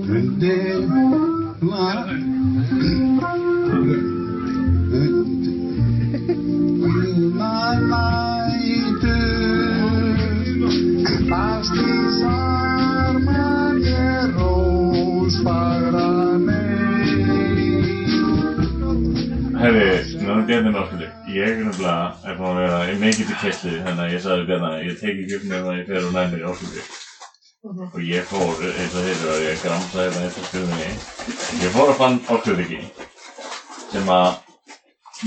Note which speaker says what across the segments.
Speaker 1: Önde var.
Speaker 2: Herri, náðu Bjarni Márkvöldi, ég er nefnilega er búin að vera í mikið til kessli þannig að ég sagði við Bjarni, ég tek ekki upp nefnilega að ég fer og næmi í Áskundi og ég fór, eins og þeirra var ég að gramsa hérna eftir skurðinni ég fór að fann Áskundi sem að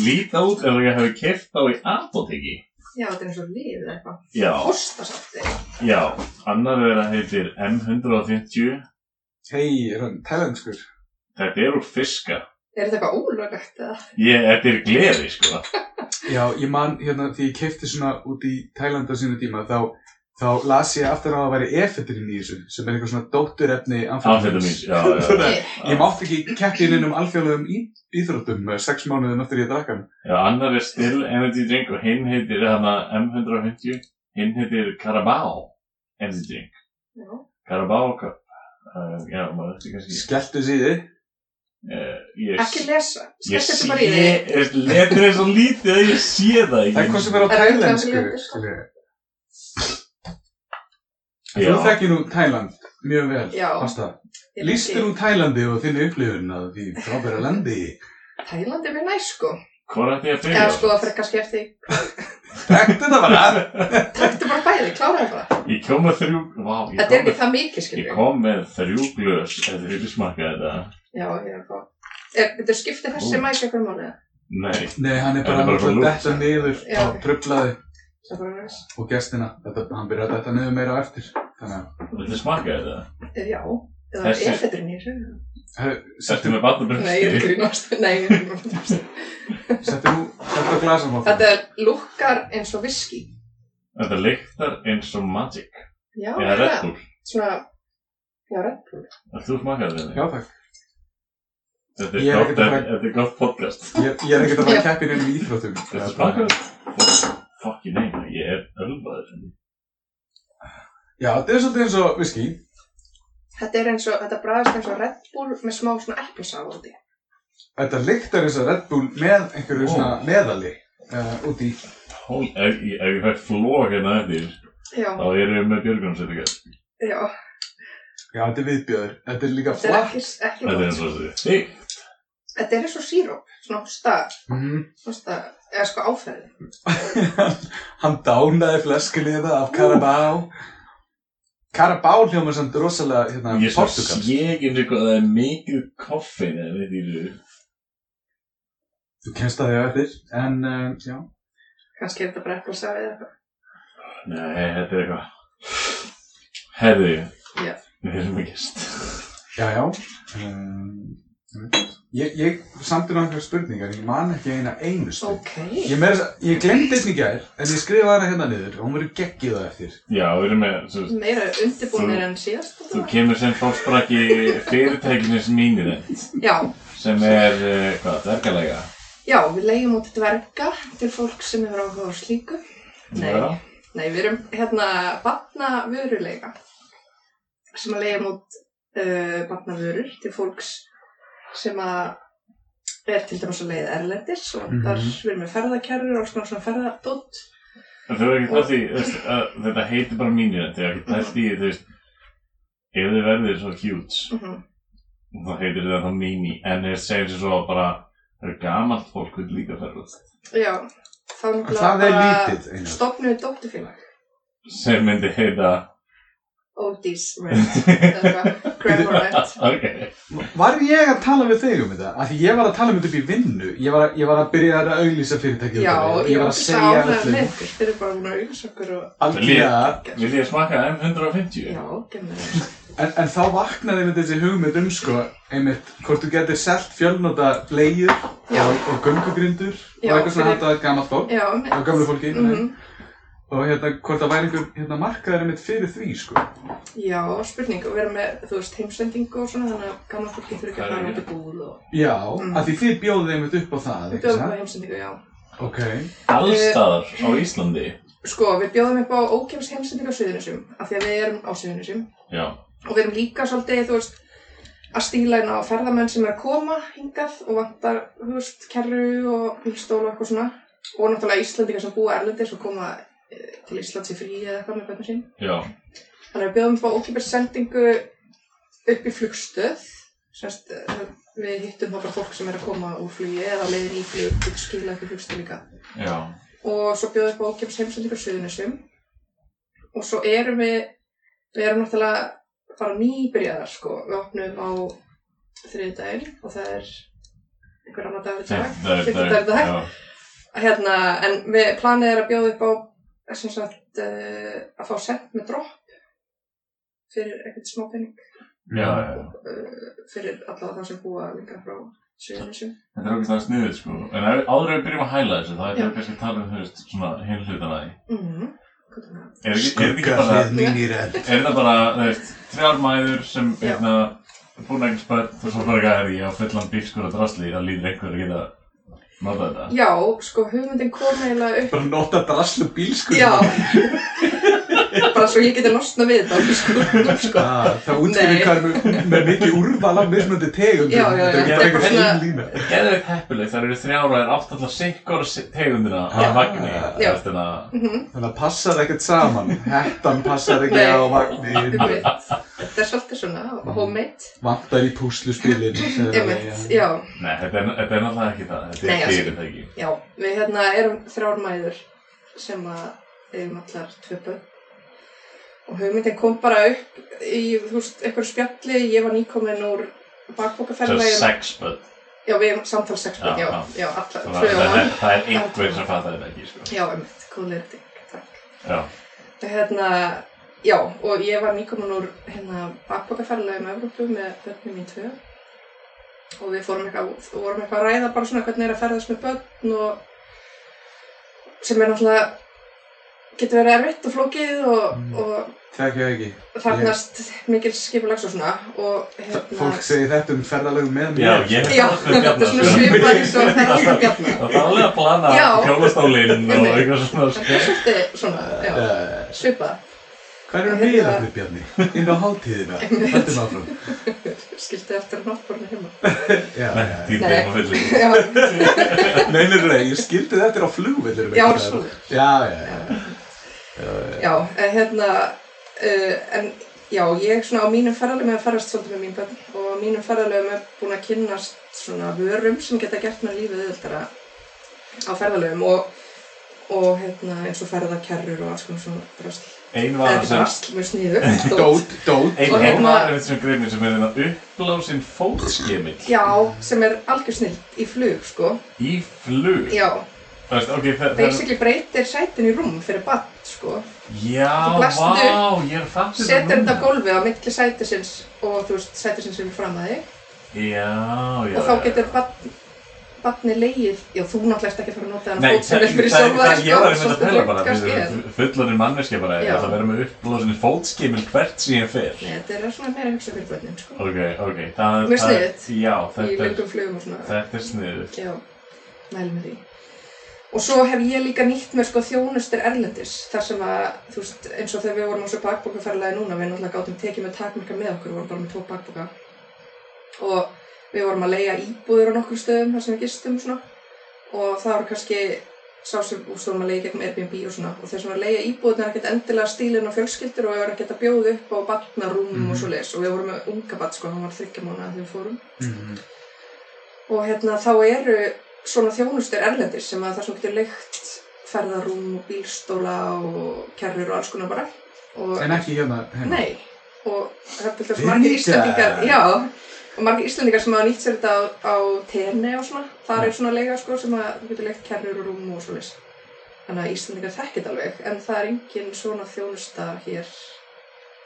Speaker 2: líta út eða ég hafi keft þá í apoteki
Speaker 3: Já, þetta er eins og lið eða eitthvað.
Speaker 2: Já,
Speaker 3: Óstasaft eða eitthvað.
Speaker 2: já, annar vera heitir M150
Speaker 4: Hei, er hann tælenskur?
Speaker 2: þetta er úr fiska
Speaker 3: Er þetta eitthvað ólöglegt eða?
Speaker 2: ég, þetta er gleði sko
Speaker 4: Já, ég man hérna því ég kefti svona út í Tælanda sínu tíma þá, þá las ég aftur á að væri efetirinn í þessu sem er eitthvað svona dótturefni
Speaker 2: amfetamín, já, já, já.
Speaker 4: Nei,
Speaker 3: Nei.
Speaker 4: Ég mátti ekki keppi inn um alþjóðlegum í, íþróttum eh, sex mánuðum eftir ég drakk hann.
Speaker 2: Já, annar er Still Energy Drink og hinn heitir hana M150, hinn heitir Carabao Energy Drink.
Speaker 3: Já.
Speaker 2: Carabao Cup. Uh, já, maður þetta kannski.
Speaker 4: Skelltu síði.
Speaker 2: Uh, ég,
Speaker 3: Ekki lesa.
Speaker 2: ég
Speaker 3: Skemmt þetta bara í þig.
Speaker 2: sé, letur er svo lítið að ég sé það
Speaker 4: Það er
Speaker 2: ekki.
Speaker 4: hvað sem er á
Speaker 3: Er hann
Speaker 4: tælensku.
Speaker 3: tælenskur?
Speaker 4: skilurðu.
Speaker 2: Já.
Speaker 4: Þú þekkir nú Tæland mjög vel.
Speaker 3: Já.
Speaker 4: Ásta. Lýstu nú Tælandi og þinni upplifun að því frábæra landi.
Speaker 3: Tælandi er mér næst sko.
Speaker 2: Hvor ætti ég að
Speaker 3: Eða
Speaker 2: byrja?
Speaker 3: sko, fyrir kannski eftir.
Speaker 4: Takk þetta bara.
Speaker 3: Taktu bara bæði, kláraði bara.
Speaker 2: Ég kom með þrjú, vá, ég
Speaker 3: Þetta er
Speaker 2: kom
Speaker 3: ekki
Speaker 2: með,
Speaker 3: það mikið,
Speaker 2: ég
Speaker 3: skiljum.
Speaker 2: kom með þrjú glös, eða þið vilja smakka þetta.
Speaker 3: Já, ég er eitthvað. Þetta skiptir þessi
Speaker 2: Ó.
Speaker 3: mæk eitthvað mánuða.
Speaker 2: Nei,
Speaker 4: Nei, hann er
Speaker 2: Þetta
Speaker 4: bara
Speaker 2: er bara
Speaker 4: að
Speaker 2: svona
Speaker 4: detta niður
Speaker 3: Já.
Speaker 4: á tröflaði
Speaker 3: Það er bara næst.
Speaker 4: og gestina. Þetta, hann byrjar að detta niður meira á eftir. Þannig að,
Speaker 2: vilja smakka þetta?
Speaker 3: Já. Eða
Speaker 2: Þessi-
Speaker 3: er þetta nýr?
Speaker 4: herru,
Speaker 2: Settu
Speaker 4: settu,
Speaker 2: með barnabrösti.
Speaker 3: Nei, ég er grínast. Nei, ég er grínast.
Speaker 4: settu nú, settu á glasamóta.
Speaker 3: Þetta lukkar eins og viski.
Speaker 2: Þetta lyktar eins og Magic.
Speaker 3: Já,
Speaker 2: Eða Red
Speaker 3: það.
Speaker 2: Bull.
Speaker 3: Svona, já, Red Bull.
Speaker 2: Vilt Þú smakkaði þetta?
Speaker 4: Já, takk.
Speaker 2: Þetta
Speaker 4: Ég
Speaker 2: er
Speaker 4: er
Speaker 2: gott,
Speaker 4: ekkert að fara-
Speaker 2: þetta er gott podcast.
Speaker 4: Ég, ég er ekkert að fara að keppi nefnum íþróttum.
Speaker 2: Þetta er podcast. Fucking nei, ég er ölvaður.
Speaker 4: Já, þetta er svolítið eins og viski.
Speaker 3: Þetta er eins og, þetta bræðist eins og Red Bull með smá svona eplasafa úti.
Speaker 4: Þetta lyktar eins og Red Bull með einhverju
Speaker 2: Ó.
Speaker 4: svona meðali uh, út í.
Speaker 2: Hól, ef, ég- ef ég fær flók hérna eftir,
Speaker 3: Já,
Speaker 2: þá erum við með björgunum sér ekki.
Speaker 3: já.
Speaker 4: Já, þetta er viðbjöður. Þetta er líka
Speaker 3: Þetta er
Speaker 4: flatt.
Speaker 3: ekki, ekki
Speaker 2: Þetta er
Speaker 3: gott.
Speaker 2: eins og þessi. Hey,
Speaker 3: Þetta er eins og síróp, svona hosta,
Speaker 4: Mm
Speaker 3: hosta, eða sko áferði.
Speaker 4: hann dánaði fleskunni þetta af Carabao. Carabao hljóma samt rosalega hérna,
Speaker 2: ég svo
Speaker 4: Portugal.
Speaker 2: sé ekki eins og hvað það er mikil koffein eða veit ég þú.
Speaker 4: Þú kennst að því á eftir, en uh, já.
Speaker 3: Kannski er þetta bara eplasafa eða eitthvað.
Speaker 2: Nei, þetta er eitthvað. Herði,
Speaker 3: Já.
Speaker 2: við erum að gist.
Speaker 4: Já, já. Um, ég, ég samt er einhverja spurningar, ég man ekki eina einustu.
Speaker 3: Ok.
Speaker 4: Ég, meira þess að- ég glemdi einn í gær, en ég skrifaði hana hérna niður og hún verið geggið á eftir.
Speaker 2: Já, við erum með, svo,
Speaker 3: Meira undirbúinir
Speaker 2: Þú-
Speaker 3: en síðast.
Speaker 2: þú kemur sem fórsprakki fyrirtækinu sem mínir
Speaker 3: Já,
Speaker 2: sem er, eh, hvað, dvergalega?
Speaker 3: já, við leigjum út dverga til fólk sem hefur áhuga á slíku. Nei.
Speaker 2: Já.
Speaker 3: Nei, við erum hérna batna vöruleika sem að leiða mút uh, batna vörur til fólks sem að er til dæmis að leiða erlendis og
Speaker 4: Mhm.
Speaker 3: þar við erum með ferðakerrur og svona svona ferðadótt.
Speaker 2: En Þú er ekki það því, þú veist, að þetta heitir bara mínir, þetta er ekki pælt í, þú veist, ef þið verðir svo cute,
Speaker 3: Mm
Speaker 2: þá heitir þetta þá mini, en ef þið segir sér svo bara, það eru gamalt fólk við líka ferðast,
Speaker 3: Já, þá
Speaker 4: En það er lítið einu.
Speaker 3: stopnuðu dótturfélag.
Speaker 2: sem myndi heita,
Speaker 3: Oldies Rent, eða eitthvað, Grammar Rent.
Speaker 2: ok,
Speaker 4: Var ég að tala við þig um þetta? Af því ég var að tala um þetta upp í vinnu. Ég var, að- ég var að byrja að auglýsa fyrirtækið.
Speaker 3: Já,
Speaker 4: og ég var að
Speaker 3: ógeðslega
Speaker 4: segja
Speaker 3: ánægð
Speaker 4: öllum.
Speaker 3: með ykkur. Þeir eru bara búin að auðvisa okkur og...
Speaker 4: Algjörlega.
Speaker 2: vil ég smaka M150?
Speaker 3: Já, gemur það.
Speaker 4: En, en þá vaknaði með þessi hugmynd um sko, einmitt, hvort þú getur selt fjölnota bleiður
Speaker 3: Já.
Speaker 4: og, og göngugrindur og
Speaker 3: Já,
Speaker 4: eitthvað svona
Speaker 3: fyrir-
Speaker 4: hægt að gamalt fólk
Speaker 3: Já,
Speaker 4: og
Speaker 3: með...
Speaker 4: gamlu fólki
Speaker 3: Mm
Speaker 4: og hérna, hvort það væri einhver hérna, markaður einmitt fyrir því sko.
Speaker 3: Já, spurning, og vera með, þú veist, heimsendingu og svona, þannig að gamla fólki þurfi ekki
Speaker 2: Það
Speaker 3: að
Speaker 2: er
Speaker 3: fara út
Speaker 2: ekki.
Speaker 3: í búð og
Speaker 4: Já,
Speaker 3: Mm.
Speaker 4: af því þið bjóðið einmitt upp á það,
Speaker 3: við
Speaker 4: ekki
Speaker 3: bjóðum upp á
Speaker 4: það?
Speaker 3: heimsendingu, já.
Speaker 4: Ok,
Speaker 2: Allstaðar á Íslandi,
Speaker 3: Sko, við bjóðum upp á ókjæms heimsendingu á Suðunisum, af því að við erum á Suðunisum
Speaker 2: já,
Speaker 3: og við erum líka svolítið, þú veist, að stíla inn á ferðamenn sem er að koma hingað og vantar, þú veist, kerru og bílstól og eitthvað svona og náttúrulega Íslandingar sem búa erlendis og koma eh, til Íslands í frí eða eitthvað með bönnum sín
Speaker 2: Já,
Speaker 3: Þannig að við bjóðum upp á ókipir sendingu upp í flugstöð Sérst, við hittum þá bara fólk sem er að koma úr flugi eða leiðir í flug, við skila upp í flugstöð líka
Speaker 2: já,
Speaker 3: og svo bjóðum upp á ókipis heimsendingu á Suðunisum og svo erum við við erum náttúrulega bara nýbyrjaðar sko, við opnum á þriðdægin og það er einhver annar dagur í dag,
Speaker 2: þetta er
Speaker 3: fimmtudagur í dag
Speaker 2: já,
Speaker 3: hérna, en við, planið er að bjóða upp á sem sagt uh, að fá sent með dropp fyrir ekkert smápenning
Speaker 2: já, já.
Speaker 3: uh, fyrir alla þá sem búa líka frá Suðunisum
Speaker 2: Þetta er okkur það sniðið sko, en ef- áður en við byrjum að hæla þessu, þá er
Speaker 3: Já.
Speaker 2: þetta kannski að tala um, þú veist, svona hinn hlutan að því.
Speaker 3: mm -hmm.
Speaker 2: Er ekki- er þetta ekki bara,
Speaker 5: Skuggahlið mín í rell.
Speaker 2: er þetta bara, þú veist, þrjár mæður sem,
Speaker 3: Já.
Speaker 2: hérna, búin ekki spöld og svo bara ekki að því á fullan bífskur og drasli, það líður einhver að geta notað þetta.
Speaker 3: Já, sko hugmyndin kom eiginlega upp
Speaker 4: Bara nota draslu bílskur
Speaker 3: Já Bara svo ég geti losna við þetta á bílskúrnum sko.
Speaker 4: Ah, það útskýrir
Speaker 3: Nei.
Speaker 4: hvað er með- með mikið úrval af mismunandi tegum
Speaker 3: Já, já,
Speaker 4: Þetta er
Speaker 3: já.
Speaker 4: ekki bara einhver
Speaker 3: Þetta er
Speaker 4: ein lína
Speaker 2: Geðu eitt heppileg, það eru þrjár og það er átt alltaf sikkur tegundina
Speaker 4: Já.
Speaker 2: af vagni, þú
Speaker 3: Já.
Speaker 2: veist, þannig að...
Speaker 3: Mhm,
Speaker 4: Þannig að passar ekkert saman Hettan passar ekki
Speaker 3: Nei.
Speaker 4: á vagnin
Speaker 3: einmitt. Þetta er svolítið svona homemade
Speaker 4: Vantar í púsluspilin
Speaker 3: Einmitt, Hérna. já,
Speaker 2: Nei, þetta er, þetta er náttúrulega ekki það, þetta
Speaker 3: Nei,
Speaker 2: er
Speaker 3: alls ekki.
Speaker 2: fyrirtæki.
Speaker 3: já Við hérna erum þrjár mæður sem að eigum allar tvö börn og hugmyndin kom bara upp í, þú veist, einhverju spjalli ég var nýkomin úr
Speaker 2: Þetta er
Speaker 3: bakbókaferðlega
Speaker 2: sex börn,
Speaker 3: Já, við erum samtals sex
Speaker 2: Já,
Speaker 3: börn, já,
Speaker 2: já.
Speaker 3: já, allar
Speaker 2: þannig
Speaker 3: tvö
Speaker 2: að
Speaker 3: og
Speaker 2: það er-
Speaker 3: hann
Speaker 2: það er einhver sem fattar þetta ekki, sko.
Speaker 3: Já, einmitt, góð leirting, takk
Speaker 2: Já,
Speaker 3: hérna, já, og ég var nýkomin úr hérna bakbokaferðlega um Evrópu með börnum mín tvö og við fórum eitthvað, vorum eitthvað að ræða bara svona hvernig er að ferðast með börn og sem er náttúrulega getur verið erfitt og flókið og,
Speaker 4: Mm.
Speaker 3: og
Speaker 4: Þekkja ekki
Speaker 3: þarnast mikil skipulags og svona og hérna
Speaker 4: Fólk segir þetta um ferðalögum með
Speaker 2: já,
Speaker 4: mér
Speaker 2: ég
Speaker 3: Já, þetta er svona svipað eins og þekkjum bjarnar
Speaker 2: Það er alveg að plana
Speaker 3: Já.
Speaker 2: hjólastólinn og
Speaker 3: Einmitt.
Speaker 2: eitthvað svona sko.
Speaker 3: Þetta er
Speaker 2: skemmt.
Speaker 3: svolítið svona, já,
Speaker 4: Eh,
Speaker 3: svipað
Speaker 4: Hvað eru
Speaker 3: Hérna-
Speaker 4: miðarnir, Bjarni? Inn á hátíðina
Speaker 3: Einmitt.
Speaker 4: Þetta er áfram
Speaker 3: skildi eftir að náttborna heima
Speaker 4: Já,
Speaker 2: Nei,
Speaker 4: já.
Speaker 2: tíma
Speaker 3: Nei.
Speaker 2: heima fullir.
Speaker 3: Já,
Speaker 4: Nei, nei, nei, ég skildi þetta er á
Speaker 3: já,
Speaker 4: flugvellir veitir það.
Speaker 3: svona
Speaker 4: já, já, já
Speaker 3: Já, eh, hérna, uh, en já, ég svona á mínum ferðalöfum hef ferðast svolítið með mín börn og á mínum ferðalöfum hef búin að kynnast svona vörum sem geta gert mér lífið auðvitað á ferðalöfum og, og hérna eins og ferðakerrur og alls konar svona drasl.
Speaker 2: Ein
Speaker 3: Eða
Speaker 2: vara
Speaker 3: ekki
Speaker 2: sem,
Speaker 3: drasl, mjög sniður. dót.
Speaker 4: Dót, dót
Speaker 2: ein,
Speaker 3: Og
Speaker 2: ein
Speaker 3: hérna-
Speaker 2: vara er þessum greifin sem er þetta uppblásin fótskemill
Speaker 3: Já, sem er algjör snilt í flug, sko.
Speaker 2: í flug.
Speaker 3: Já,
Speaker 2: Það veist, ok, það það er...
Speaker 3: basically breytir sætin í rúm fyrir bann, sko.
Speaker 2: Já,
Speaker 3: Þú blast
Speaker 2: vá, ég er fatt
Speaker 3: Setur þetta á gólfið á milli sætisins og þú veist, sætisins sem er fram að þig.
Speaker 2: Já, já.
Speaker 3: og þá
Speaker 2: já.
Speaker 3: getur barn, barni leið, já þú náttúrulega ert ekki að fara að nota
Speaker 2: Nei,
Speaker 3: þennan fót sem
Speaker 2: það,
Speaker 3: er fyrir
Speaker 2: það,
Speaker 3: sjálfa
Speaker 2: það,
Speaker 3: þig,
Speaker 2: ég var einmitt að
Speaker 3: svolítið
Speaker 2: pæla bara,
Speaker 3: kannski
Speaker 2: þessi
Speaker 3: er.
Speaker 2: fullanir manneskja bara, ég
Speaker 3: Já.
Speaker 2: ætla að vera með uppblósinni fótskimil hvert sem ég fer.
Speaker 3: Nei, þetta er svona meira að hugsa fyrir börnin, sko,
Speaker 2: Ok, ok, það...
Speaker 3: Mjög
Speaker 2: það-
Speaker 3: sniðugt.
Speaker 2: Já,
Speaker 3: í
Speaker 2: þetta er,
Speaker 3: löngum flugum og svona,
Speaker 2: þetta er sniðugt.
Speaker 3: já, mælum við því. Og svo hef ég líka nýtt mér sko þjónustur erlendis, þar sem að, þú veist, eins og þegar við vorum á svo bakbókaferðalagi núna, við náttúrulega gátum tekið með takmarka með okkur, við vorum bara með tvo bakbóka. Og við vorum að leiga íbúður á nokkur stöðum þar sem við gistum og svona. og það var kannski sá sem úr stóðum að leiða gegnum Airbnb og svona og þeir sem var að leiða íbúðin er ekkert endilega stílinn á fjölskyldur og við vorum ekkert að bjóða upp á barnarúm
Speaker 4: Mhm.
Speaker 3: og svo og við vorum með unga barn sko, hann var þryggja mánuða þegar við fórum
Speaker 4: Mhm.
Speaker 3: og hérna þá eru svona þjónustur erlendis sem að það sem getur leikt ferðarúm og bílstóla og kerrur og alls konar bara og
Speaker 4: En ekki hérna hérna.
Speaker 3: Nei, og það er til dæmis
Speaker 4: Fyrir
Speaker 3: margir
Speaker 4: í
Speaker 3: Íslandingar,
Speaker 4: dag.
Speaker 3: já, og margir Íslandingar sem hafa nýtt sér þetta á, á TN og svona, þar er svona leiga sko sem að þú getur leikt kerrur og rúm og svoleiðis. Þannig að Íslandingar þekkir þetta alveg, en það er engin svona þjónusta hér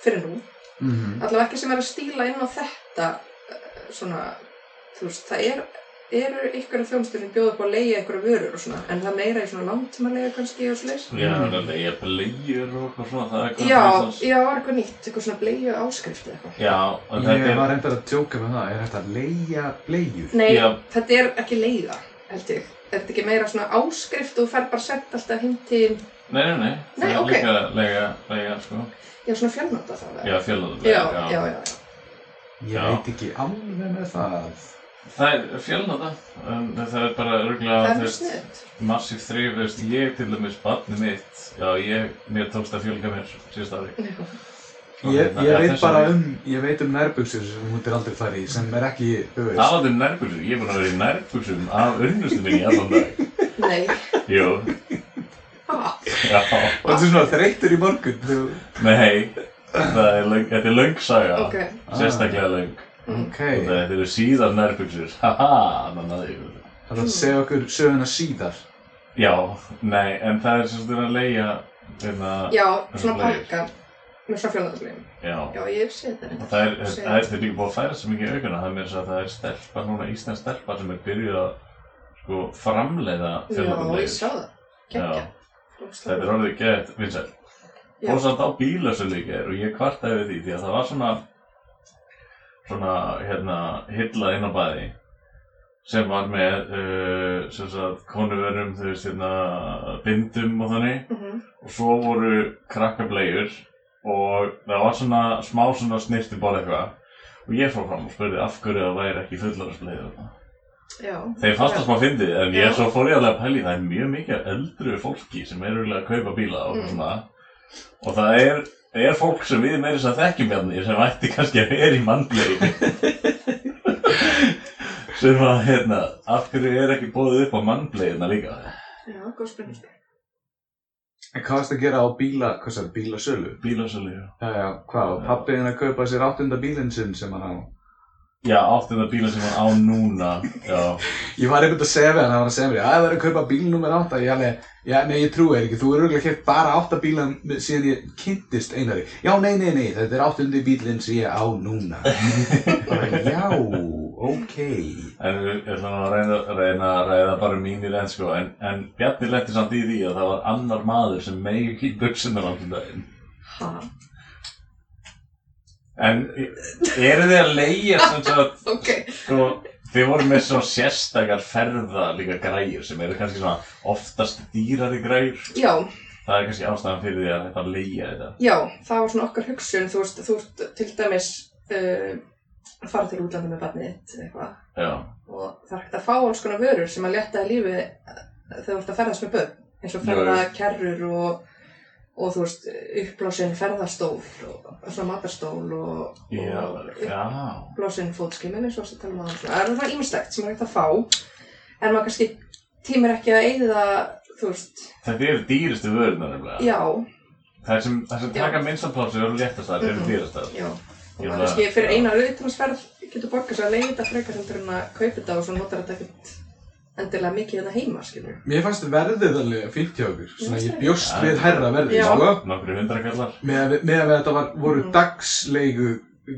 Speaker 3: fyrir nú.
Speaker 4: Mhm.
Speaker 3: Allavega ekki sem er að stíla inn á þetta, eh, svona, þú veist, það er, eru ykkur af þjónustunum bjóða upp á að leiga ykkur vörur og svona, en það er meira í svona langtíma leiga kannski og svoleiðis.
Speaker 2: Já, þannig að ég blegjur og eitthvað svona, það er eitthvað
Speaker 3: Mm. Já,
Speaker 2: fyrir þess-
Speaker 3: já, eitthvað nýtt, eitthvað svona bleiu áskrift eða eitthvað.
Speaker 2: Já, en þetta
Speaker 4: Ég
Speaker 2: er,
Speaker 4: var reyndar að tjóka með það Er þetta að leia bleiur?
Speaker 3: Nei,
Speaker 2: Já.
Speaker 3: þetta er ekki leiða, held ég. Er þetta ekki meira svona áskrift og þú fer bara sett alltaf hinn til,
Speaker 2: nei, nei, nei, það
Speaker 3: Nei,
Speaker 2: er
Speaker 3: ok.
Speaker 2: líka lega, lega, sko,
Speaker 3: já, svona fjölnóta þá. eða?
Speaker 2: já, fjölöðu
Speaker 3: já, já, já, já.
Speaker 4: Ég
Speaker 2: Já.
Speaker 4: veit ekki alveg með það.
Speaker 2: Það er fjölnota, en það er bara
Speaker 3: Það
Speaker 2: örgulega,
Speaker 3: er
Speaker 2: þú
Speaker 3: mjög
Speaker 2: veist,
Speaker 3: sniðut.
Speaker 2: massíf þrif, þú veist, ég til dæmis, barnið mitt, já, ég, mér tókst að fjölga mér síðust ári. Og
Speaker 4: Ég,
Speaker 2: hérna,
Speaker 4: ég
Speaker 2: já,
Speaker 4: veit
Speaker 2: þess
Speaker 4: bara
Speaker 2: vegna-
Speaker 4: um, ég veit um nærbuksur sem hún er aldrei farið í, sem er ekki, þú veist.
Speaker 2: Talandi um nærbuksum, ég er búin að vera í nærbuksum af unnustu minni í allan dag.
Speaker 3: Nei.
Speaker 2: Jú,
Speaker 3: Ha,
Speaker 2: já,
Speaker 4: Og þú er svona þreytur í morgun, þú.
Speaker 2: nei, það er löng, þetta er löng saga,
Speaker 3: ok.
Speaker 2: sérstaklega löng.
Speaker 4: Ah. Ok,
Speaker 2: Og það- Þetta eru síðan nærbuksur, haha, þannig að ég
Speaker 4: það er að segja okkur söguna síðar.
Speaker 2: Já, nei, en það er sem sagt verið að leia, hérna,
Speaker 3: Já,
Speaker 2: Þessi
Speaker 3: svona
Speaker 2: blæðir.
Speaker 3: pakka. Með svona fjölnöðslegum.
Speaker 2: já.
Speaker 3: Já, ég hef séð þetta.
Speaker 2: Og
Speaker 3: reyndar.
Speaker 2: það er,
Speaker 3: Séð
Speaker 2: það er þetta líka búið að færa svo mikið í aukuna, það er meira svo að það er stelpa, núna íslensk stelpa sem er byrjuð að sko framleiða
Speaker 3: Já, ég
Speaker 2: fjölnöfnleir.
Speaker 3: sá það. Kekja.
Speaker 2: Þetta er orðið gett vinsæl.
Speaker 3: Já.
Speaker 2: Fór samt á bílösu líka er og ég kvartaði við því því að það var svona, svona, hérna, hilla inn á bæði sem var með, uh, sem sagt, konuverum, þú veist, hérna, bindum og þannig
Speaker 3: Mhm.
Speaker 2: og svo voru krakkablegjur og það var svona smá svona snirtiból eitthvað og ég fór fram og spurði af hverju það væri ekki fullorðsblegjur þarna.
Speaker 3: Já.
Speaker 2: Þeir fannst það smá fyndið en ég
Speaker 3: Já.
Speaker 2: svo fór ég alveg að pæli það er mjög mikið af eldru fólki sem er auðvitað að kaupa bíla og
Speaker 3: Mm.
Speaker 2: svona og það er, er fólk sem við meiri þess að þekkjum hérna sem ætti kannski að vera í mannblegi sem að hérna af hverju er ekki bóðið upp á mannblegina líka
Speaker 3: Já, góð spurning.
Speaker 4: En hvað varst að gera á bíla, hvað sagði, bílasölu?
Speaker 2: bílasölu já.
Speaker 4: Já, já, hvað, og
Speaker 2: Já.
Speaker 4: pappiðin að kaupa sér áttunda bílinn sinn sem hann á.
Speaker 2: já, áttunda bíla sem hann á núna já
Speaker 4: Ég var einhvern að segja við hann, hann var að segja mér, að það er að kaupa bíl nummer átta, ég alveg, já, nei, ég trúi þér ekki, þú er auðvitað kert bara átta bíla með- síðan ég kynntist einari. Já, nei, nei, nei, þetta er áttundi bílinn sem ég á núna. Bara, já, ok.
Speaker 2: En við við ætlum að reyna, reyna að ræða bara um mínir enn sko en, en Bjarni lendi samt í því að það var annar maður sem megi ekki buksunar á því daginn
Speaker 3: Ha,
Speaker 2: En eru þið að leigja sem sagt
Speaker 3: ok.
Speaker 2: sko Þið voru með svona sérstakar ferða líka græjur sem eru kannski svona oftast dýrari græjur
Speaker 3: Já,
Speaker 2: Það er kannski ástæðan fyrir því að þetta að leigja þetta
Speaker 3: já, það var svona okkar hugsun, þú veist, þú ert til dæmis uh, að fara til útlanda með barnið þitt eitthvað
Speaker 2: Já,
Speaker 3: og það er hægt að fá alls konar vörur sem að létta þér lífið eh, þegar þú ert að ferðast með börn eins og
Speaker 2: Já,
Speaker 3: ferðakerrur og, og þú veist, uppblásinn ferðastól og svona matarstól og,
Speaker 2: já,
Speaker 3: og
Speaker 2: já
Speaker 3: uppblásinn fótskimmin eins og það tala maður svona. Það er það ímislegt sem er hægt að fá en maður kannski tímir ekki að eyða, þú veist,
Speaker 2: Þetta eru dýrustu vörunar nefnilega
Speaker 3: já,
Speaker 2: Það sem, það sem
Speaker 3: Já.
Speaker 2: taka minnstaplásu eru léttast það eru
Speaker 3: Mhm.
Speaker 2: dýrastar
Speaker 3: já. Og
Speaker 2: Ég
Speaker 3: maður
Speaker 2: meina,
Speaker 3: kannski fyrir
Speaker 2: já.
Speaker 3: eina auðvitaðsferð getur borgað sér að leiða þetta frekar heldur en að kaupa þetta og svo notar þetta ekkert endilega mikið þetta heima, skilur.
Speaker 4: Mér fannst verðið alveg fínt hjá okkur, svona ég bjóst
Speaker 2: Já.
Speaker 4: við herra verðið,
Speaker 3: Já.
Speaker 4: sko.
Speaker 2: Nokkri hundrakallar
Speaker 4: Með að, við- með að þetta var, voru
Speaker 3: Mhm.
Speaker 4: dagsleigu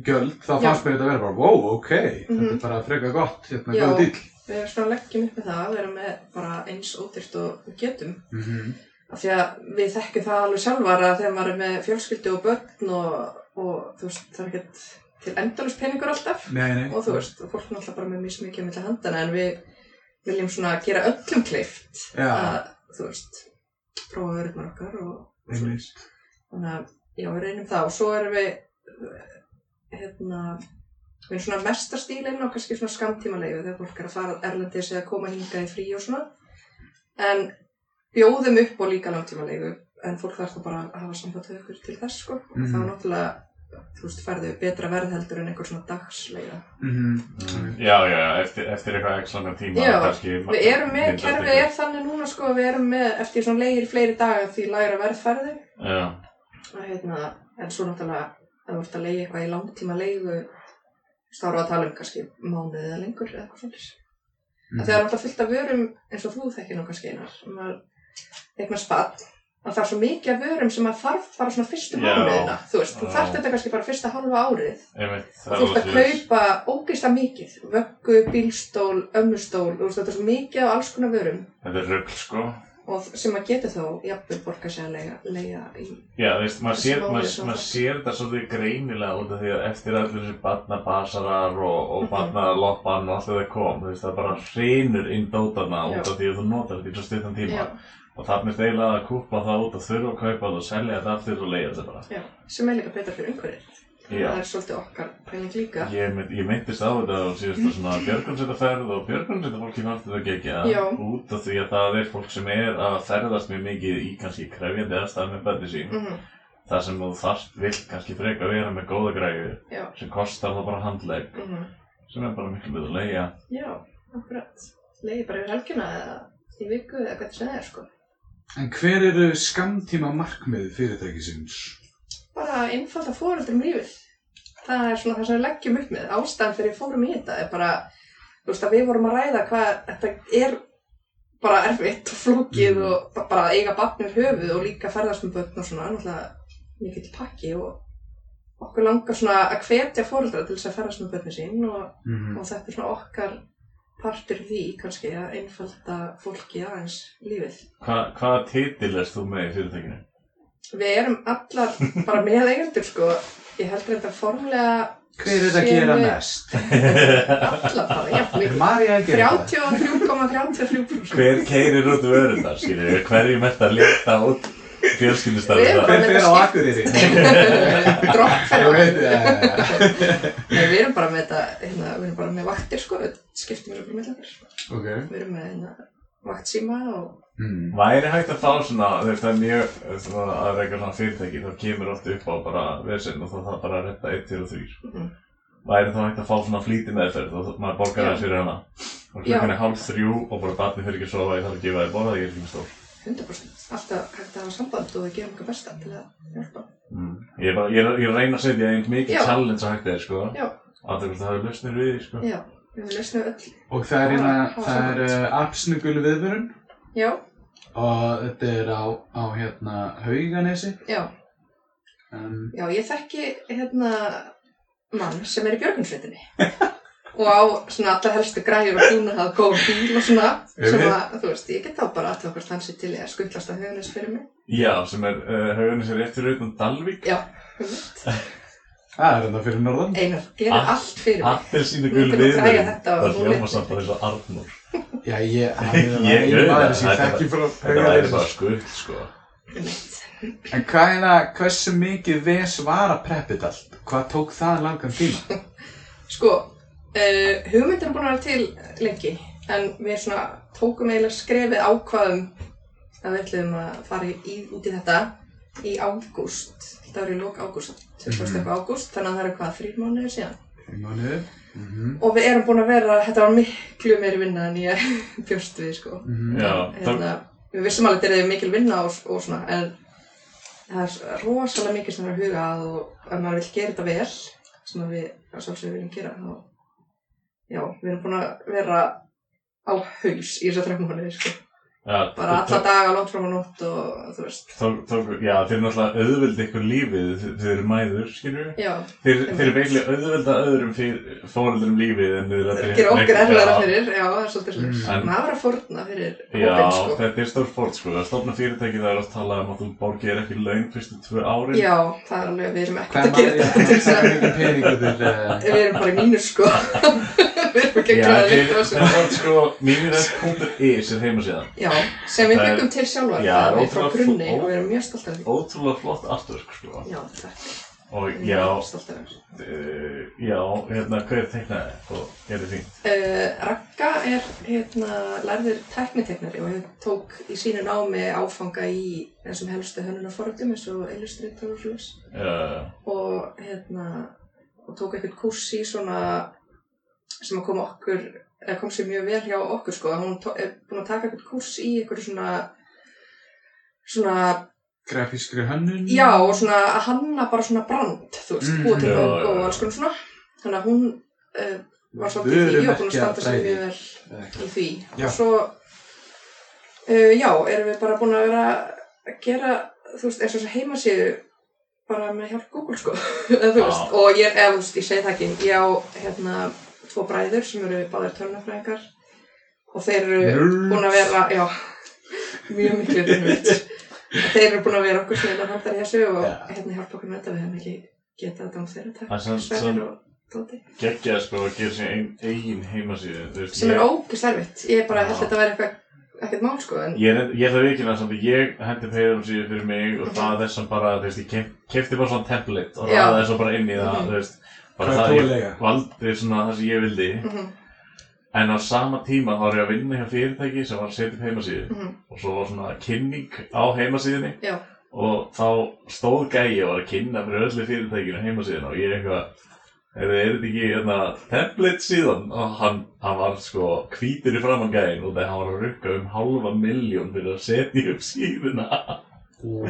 Speaker 4: gjöld, þá
Speaker 3: Já.
Speaker 4: fannst mér þetta verið bara, wow, ok, þetta
Speaker 3: Mhm.
Speaker 4: er bara freka gott, hérna,
Speaker 3: Já.
Speaker 4: góðu dýll.
Speaker 3: Við erum svona að leggjum upp með það að vera með bara eins ódýrt og við getum.
Speaker 4: Mhm.
Speaker 3: Af því að við þekkjum það alveg sjálfar að þegar maður er með fjölskyldu og börn og, og þú veist, það er ekkert til endalus peningur alltaf.
Speaker 4: Nei, nei.
Speaker 3: Og þú veist, og fólk er náttúrulega bara með mjög mikið á milli handana en við viljum svona gera öllum kleift
Speaker 4: Já,
Speaker 3: að, þú veist, prófa vörðnar okkar og, og svoleiðis.
Speaker 4: einmitt.
Speaker 3: Þannig að, já, við reynum það og svo erum við, eh, hérna, við erum svona mestarstílinn og kannski svona skamtímaleifu þegar fólk er að fara erlendis eða koma hingað í frí og svona. En bjóðum upp á líka langtímaleifu, en fólk þarf þá bara að hafa samband við ykkur til þess, sko. Mm
Speaker 4: Mhm.
Speaker 3: Þá náttúrulega, þú veist, færðu betra verð heldur en einhver svona dagsleifa.
Speaker 4: Mhm.
Speaker 2: Já, já, já, eftir, eftir eitthvað ekki langan tíma
Speaker 3: Já,
Speaker 2: kannski,
Speaker 3: Við erum með, kerfið er þannig núna, sko, við erum með, eftir svona leigir í fleiri daga því lægra verðferði.
Speaker 2: Já,
Speaker 3: að hérna, en svo náttúrulega að þú ert að leiði eitthvað í langtíma leigu stáru að tala um kannski mánuði eða lengur eða eitthvað svolítið mm.
Speaker 2: Mhm.
Speaker 3: þegar náttúrulega fullt af vörum eins og þú þekkir nú kannski einar maður eignar spatt að það er svo mikið af vörum sem maður þarf bara svona
Speaker 2: Já.
Speaker 3: fyrstu mánuðina þú veist, þú
Speaker 2: Já.
Speaker 3: þarf þetta kannski bara fyrsta hálfa árið
Speaker 2: einmitt það
Speaker 3: og þú ert
Speaker 2: var
Speaker 3: að
Speaker 2: svoleiðis.
Speaker 3: kaupa ógeislega mikið vöggu, bílstól, ömmustól þú veist, þetta er svo mikið af alls konar vörum
Speaker 2: Þetta er rugl, sko
Speaker 3: og sem maður getur þó jafnvel borga sér að leiga, leiga í
Speaker 2: Já, þú veist, maður
Speaker 3: Þessi
Speaker 2: sér,
Speaker 3: máli
Speaker 2: maður,
Speaker 3: svona.
Speaker 2: maður sér þetta svolítið greinilega út af því að eftir allir þessi barnabasarar og, og
Speaker 3: Mhm.
Speaker 2: barnaloppan og allt þetta kom, þú veist, það bara hrinur inn dótana
Speaker 3: Já.
Speaker 2: út af því að þú notar þetta í svo stuttan tíma
Speaker 3: Já.
Speaker 2: og þarna er eiginlega að kúpa það út og þurfa að kaupa það og selja þetta aftur og leiða þetta bara
Speaker 3: Já, sem er líka betra fyrir umhverfið.
Speaker 2: Já.
Speaker 3: það er svolítið okkar pæling líka
Speaker 2: Ég, mynd- ég myndist á þetta á síðasta svona björgunsetaferð og björgunsetavolki fannst þetta ekki að
Speaker 3: Já.
Speaker 2: út af því að það er fólk sem er að ferðast mjög mikið í kannski krefjandi aðstæðum með bæti sín
Speaker 3: Mhm,
Speaker 2: þar sem þú þarft vill kannski freka vera með góða græður
Speaker 3: Já.
Speaker 2: sem kostar það bara handlegg
Speaker 3: mhm.
Speaker 2: sem er bara miklu betur leiða
Speaker 3: Já, akkurat leiði bara yfir helgina eða í viku eða hvað sem það er sko
Speaker 4: En hver eru skamtíma markmið fyrirtækisins?
Speaker 3: bara einfalda fóreldrum lífið það er svona það sem við leggjum upp með ástæðan fyrir við fórum í þetta er bara þú veist að við vorum að ræða hvað þetta er bara erfitt og flókið
Speaker 4: Mhm.
Speaker 3: og ba- bara að eiga barnir höfuð og líka ferðast með börn og svona náttúrulega mikill pakki og okkur langar svona að hvetja fóreldra til þess að ferðast með börnir sín og
Speaker 4: Mm.
Speaker 2: Mhm.
Speaker 3: og þetta er svona okkar partur í því kannski að einfalda fólki aðeins lífið.
Speaker 2: Hva, Hvaða titil erst þú með í fyrirtækinu?
Speaker 3: Við erum allar bara með eigendur sko, ég held reynda formlega
Speaker 4: Hver er að
Speaker 3: Séu-
Speaker 4: gera mest?
Speaker 3: allar bara jafn
Speaker 4: Er
Speaker 3: mikið.
Speaker 4: Marja að gera það?
Speaker 3: 33,33%
Speaker 2: Hver keirir út vörundar, skilur við? Hverjum ert að leta út
Speaker 3: Við erum
Speaker 2: fjölskyldustarfið?
Speaker 4: Hver fer á Akureyri?
Speaker 3: dropp
Speaker 4: Ég
Speaker 3: fyrir
Speaker 4: veit, já, já, já.
Speaker 3: Nei, við erum bara með þetta, hérna, við erum bara með vaktir sko, við skiptum við bara með okkar.
Speaker 4: Ok.
Speaker 3: Við erum með hérna, vakt síma og
Speaker 4: Mm.
Speaker 2: Væri hægt að fá svona, þú veist það er mjög, svona, að reyka svona fyrirtæki, þá kemur oft upp á bara vesinn og þá þarf bara að retta 1, 2 og 3.
Speaker 3: Mhm.
Speaker 2: Væri þá hægt að fá svona flýti meðferð og þá- maður borgar
Speaker 3: Já.
Speaker 2: aðeins fyrir hana. Og
Speaker 3: Já.
Speaker 2: klukkan er hálf þrjú og bara barni fyrir ekki að sofa, ég þarf að gefa þér borða, ég er ekki með stór.
Speaker 3: 100% alltaf hægt að hafa samband og við gerum okkar besta til að hjálpa.
Speaker 2: Mm. Ég, er bara, ég, er, ég er að reyna að setja einn mikið
Speaker 3: Mhm. Já.
Speaker 2: challenge að hægt þér, sko.
Speaker 3: Já.
Speaker 2: Að þú veist það hafi lausnir við, því, sko.
Speaker 3: Já, við lesnum öll.
Speaker 4: Og það er hérna, það er uh, apsnugul viðvörun
Speaker 3: Já,
Speaker 4: og þetta er á, á hérna Hauganesi.
Speaker 3: já.
Speaker 4: Um,
Speaker 3: Já, ég þekki hérna mann sem er í björgunsveitinni og á svona allar helstu græjur og búin að hafa góð bíl og svona sem að, þú veist, ég get þá bara aðtöða hvort hann sé til í að skuttlast að höfunis fyrir mig
Speaker 2: Já, sem er, uh, haugunni sér rétt fyrir utan Dalvík.
Speaker 3: Já, einmitt.
Speaker 4: það er hérna fyrir norðan.
Speaker 3: Einar, ég
Speaker 2: Allt-
Speaker 3: er allt fyrir mig
Speaker 2: Allir sínu
Speaker 3: Ég
Speaker 2: gul
Speaker 3: er búin að
Speaker 2: viður.
Speaker 3: græja þetta og
Speaker 2: Það
Speaker 3: þú
Speaker 2: hljóma
Speaker 3: veit.
Speaker 2: samt að þess að Arnur.
Speaker 4: Já, ég, hann er það
Speaker 2: Ég- ég-
Speaker 4: einu maður sem ég
Speaker 2: þetta-
Speaker 4: þekki frá
Speaker 2: Þetta væri
Speaker 4: Hauganesi.
Speaker 2: bara skull, sko.
Speaker 3: Einmitt.
Speaker 4: En hvað er það, hversu mikið ves var að preppið allt? Hvað tók það langan tíma?
Speaker 3: Sko, uh, hugmyndir er búin að vera til lengi en við svona tókum eiginlega skrefið ákvaðum að við ætlum að fara í, út í þetta í ágúst, þetta var í lók ágúst 20.
Speaker 4: Mhm.
Speaker 3: ágúst, þannig að það eru hvað, þrjir mánuðir síðan
Speaker 4: Fimm mánuður. Mhm,
Speaker 3: og við erum búin að vera, þetta var miklu meiri vinna en ég bjóst við sko
Speaker 4: mhm.
Speaker 2: Já, það,
Speaker 3: hérna, við vissum alveg að þetta er mikil vinna og, og svona, en það er s- rosalega mikil sem er að huga að og ef maður vil gera þetta vel sem að við, að sjálfsögum viljum gera þá, já, við erum búin að vera á haus í þess að þrefna honni, sko,
Speaker 2: já,
Speaker 3: bara
Speaker 2: það-
Speaker 3: alla daga langt fram á nótt og þú veist,
Speaker 2: Tók, tók, já, þeir eru náttúrulega auðveld ykkur lífið þið þið eru mæður, skilur við?
Speaker 3: já,
Speaker 2: Þeir, þeir eru veiklega auðvelda öðrum fyrir fóreldurum lífið en þeir
Speaker 3: það gera okkur erfiðara fyrir, já, það er svolítið slis,
Speaker 2: Mm.
Speaker 3: maður er að fórna fyrir
Speaker 2: Já,
Speaker 3: hópinn, sko,
Speaker 2: þetta er stór fórt, sko. Að stofna fyrirtæki það er að tala um að þú borgir ekki laun fyrstu tvö árin.
Speaker 3: já, það er alveg, við erum
Speaker 4: Hvað
Speaker 3: ekkert
Speaker 4: er
Speaker 3: að gera þetta til
Speaker 4: maður,
Speaker 3: þess
Speaker 4: það
Speaker 3: að
Speaker 4: er mikið peningur til... eh,
Speaker 3: við erum bara í mínus, sko, við erum ekki að
Speaker 2: Já,
Speaker 3: græða
Speaker 2: þeir-
Speaker 3: neitt á þessu.
Speaker 2: það er allt, sko, mínirett.is er heimasíðan.
Speaker 3: Já, sem við
Speaker 2: Það er-
Speaker 3: byggum til sjálfar
Speaker 2: Já,
Speaker 3: það
Speaker 2: það er
Speaker 3: er frá
Speaker 2: ótrúlega
Speaker 3: grunni
Speaker 2: fú-
Speaker 3: og við erum mjög stolt af því.
Speaker 2: Ótrúlega flott artwork, sko.
Speaker 3: Já, takk.
Speaker 2: Og
Speaker 3: Við
Speaker 2: já,
Speaker 3: erum stolt af því.
Speaker 2: uh, já, hérna, hver teiknaði og er þið fínt?
Speaker 3: Uh, Ragga er hérna, lærður tekniteknari og hérna tók í sínu námi áfanga í þessum helstu hönnunarforðum eins og illustrator og slags
Speaker 2: Uh,
Speaker 3: og hérna og tók eitthvað kurs í svona sem að kom okkur eða kom sér mjög vel hjá okkur sko hún tó- er búin að taka eitthvað kurs í eitthvað svona svona
Speaker 4: Grafískri hönnun?
Speaker 3: Já, og svona að hanna bara svona brand, þú veist,
Speaker 4: Mhm.
Speaker 3: búa til
Speaker 2: Mm, Já,
Speaker 3: logo
Speaker 2: já,
Speaker 3: og
Speaker 2: já.
Speaker 3: alls konar svona. Þannig að hún uh, var svolítið í því og búin að standa sig mjög vel í því.
Speaker 4: Já.
Speaker 3: Og svo, uh, já, erum við bara búin að vera að gera, þú veist, eins og þess að heimasíðu bara með hjálp Google, sko. eða þú veist,
Speaker 2: Já.
Speaker 3: og ég, eða þú veist, ég segi það ekki, ég á hérna tvo bræður sem eru báðir tölnafræðingar og þeir eru
Speaker 4: Nerds.
Speaker 3: búin að vera, já, mjög miklu nörd. Þeir eru búin að vera okkur snil að handla í þessu og
Speaker 4: Já.
Speaker 3: hérna hjálpa okkur með þetta við hefum ekki getað þetta án þeirra
Speaker 2: Það er
Speaker 3: takk.
Speaker 2: samt-
Speaker 3: Sverrir og Tóti.
Speaker 2: geggja sko að gera sér ein, eigin heimasíðu þú veist,
Speaker 3: Sem er
Speaker 2: ég-
Speaker 3: ógist erfitt. Ég bara held
Speaker 2: Já.
Speaker 3: að þetta væri eitthvað ekkert mál sko en
Speaker 2: Ég, er- ég ætla að viðkynna samt að ég hendi Patreon síðu fyrir mig og það er sem bara, þú veist, ég kefti bara svona template og
Speaker 3: Mhm. Já.
Speaker 2: ræði þessu bara inn í það,
Speaker 3: Mhm.
Speaker 2: þú veist, bara
Speaker 4: Hvað
Speaker 2: það
Speaker 4: ert þú að
Speaker 2: ég
Speaker 4: lega?
Speaker 2: valdi svona það sem ég vildi.
Speaker 3: Mhm.
Speaker 2: En á sama tíma þá var ég að vinna hjá fyrirtæki sem var að setja upp heimasíðu
Speaker 3: Mhm.
Speaker 2: og svo var svona kynning á heimasíðinni
Speaker 3: já,
Speaker 2: og þá stóð gæi og var að kynna fyrir öllu fyrirtækinu heimasíðina og ég eitthvað, er er þetta ekki hérna, template síðan? Og hann, hann var sko hvítur í framann gæin og þegar hann var að rukka um halva miljón fyrir að setja upp síðuna.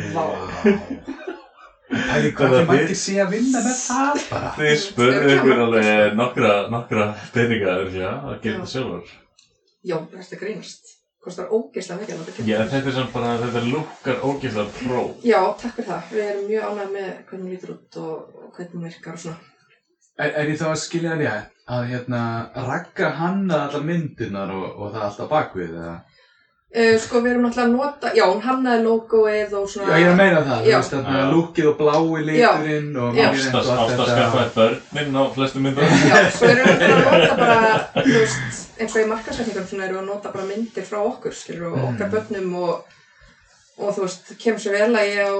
Speaker 4: Pæli, hvað er margir sé að vinna með það
Speaker 3: Ah,
Speaker 4: bara?
Speaker 2: Þið spurðu
Speaker 3: Örugglega
Speaker 2: ykkur
Speaker 3: margt.
Speaker 2: alveg nokkra, nokkra peninga örgja að gera þetta sjálfur.
Speaker 3: já, þetta er grínast kostar ógeðslega mikið að láta
Speaker 2: Já,
Speaker 3: kynna.
Speaker 2: þetta er samt bara, þetta lukkar ógeðslega pró.
Speaker 3: já, takk fyrir það, við erum mjög ánægð með hvernig hún lítur út og, og hvernig hún virkar og svona
Speaker 4: Er, er ég þá að skilja það rétt? Að hérna, ragga hanna allar myndirnar og, og það allt á bakvið, eða?
Speaker 3: uh, sko við erum náttúrulega að nota, já, hún hannaði logoið og
Speaker 4: Já,
Speaker 3: svona
Speaker 4: ég er að meina það, þú
Speaker 3: Já.
Speaker 4: veist, þarna
Speaker 2: Já.
Speaker 4: lúkið og blái liturinn og
Speaker 3: Já.
Speaker 4: maður er eins og allt
Speaker 2: Ástast
Speaker 4: þetta.
Speaker 2: skaffaði börnin á flestu myndar.
Speaker 3: Já, svo erum við náttúrulega að nota bara, þú veist, eins og í markasetningum svona erum við að nota bara myndir frá okkur, skilur, og
Speaker 4: Mm.
Speaker 3: okkar börnum og, og þú veist, kemur sér vel að ég á,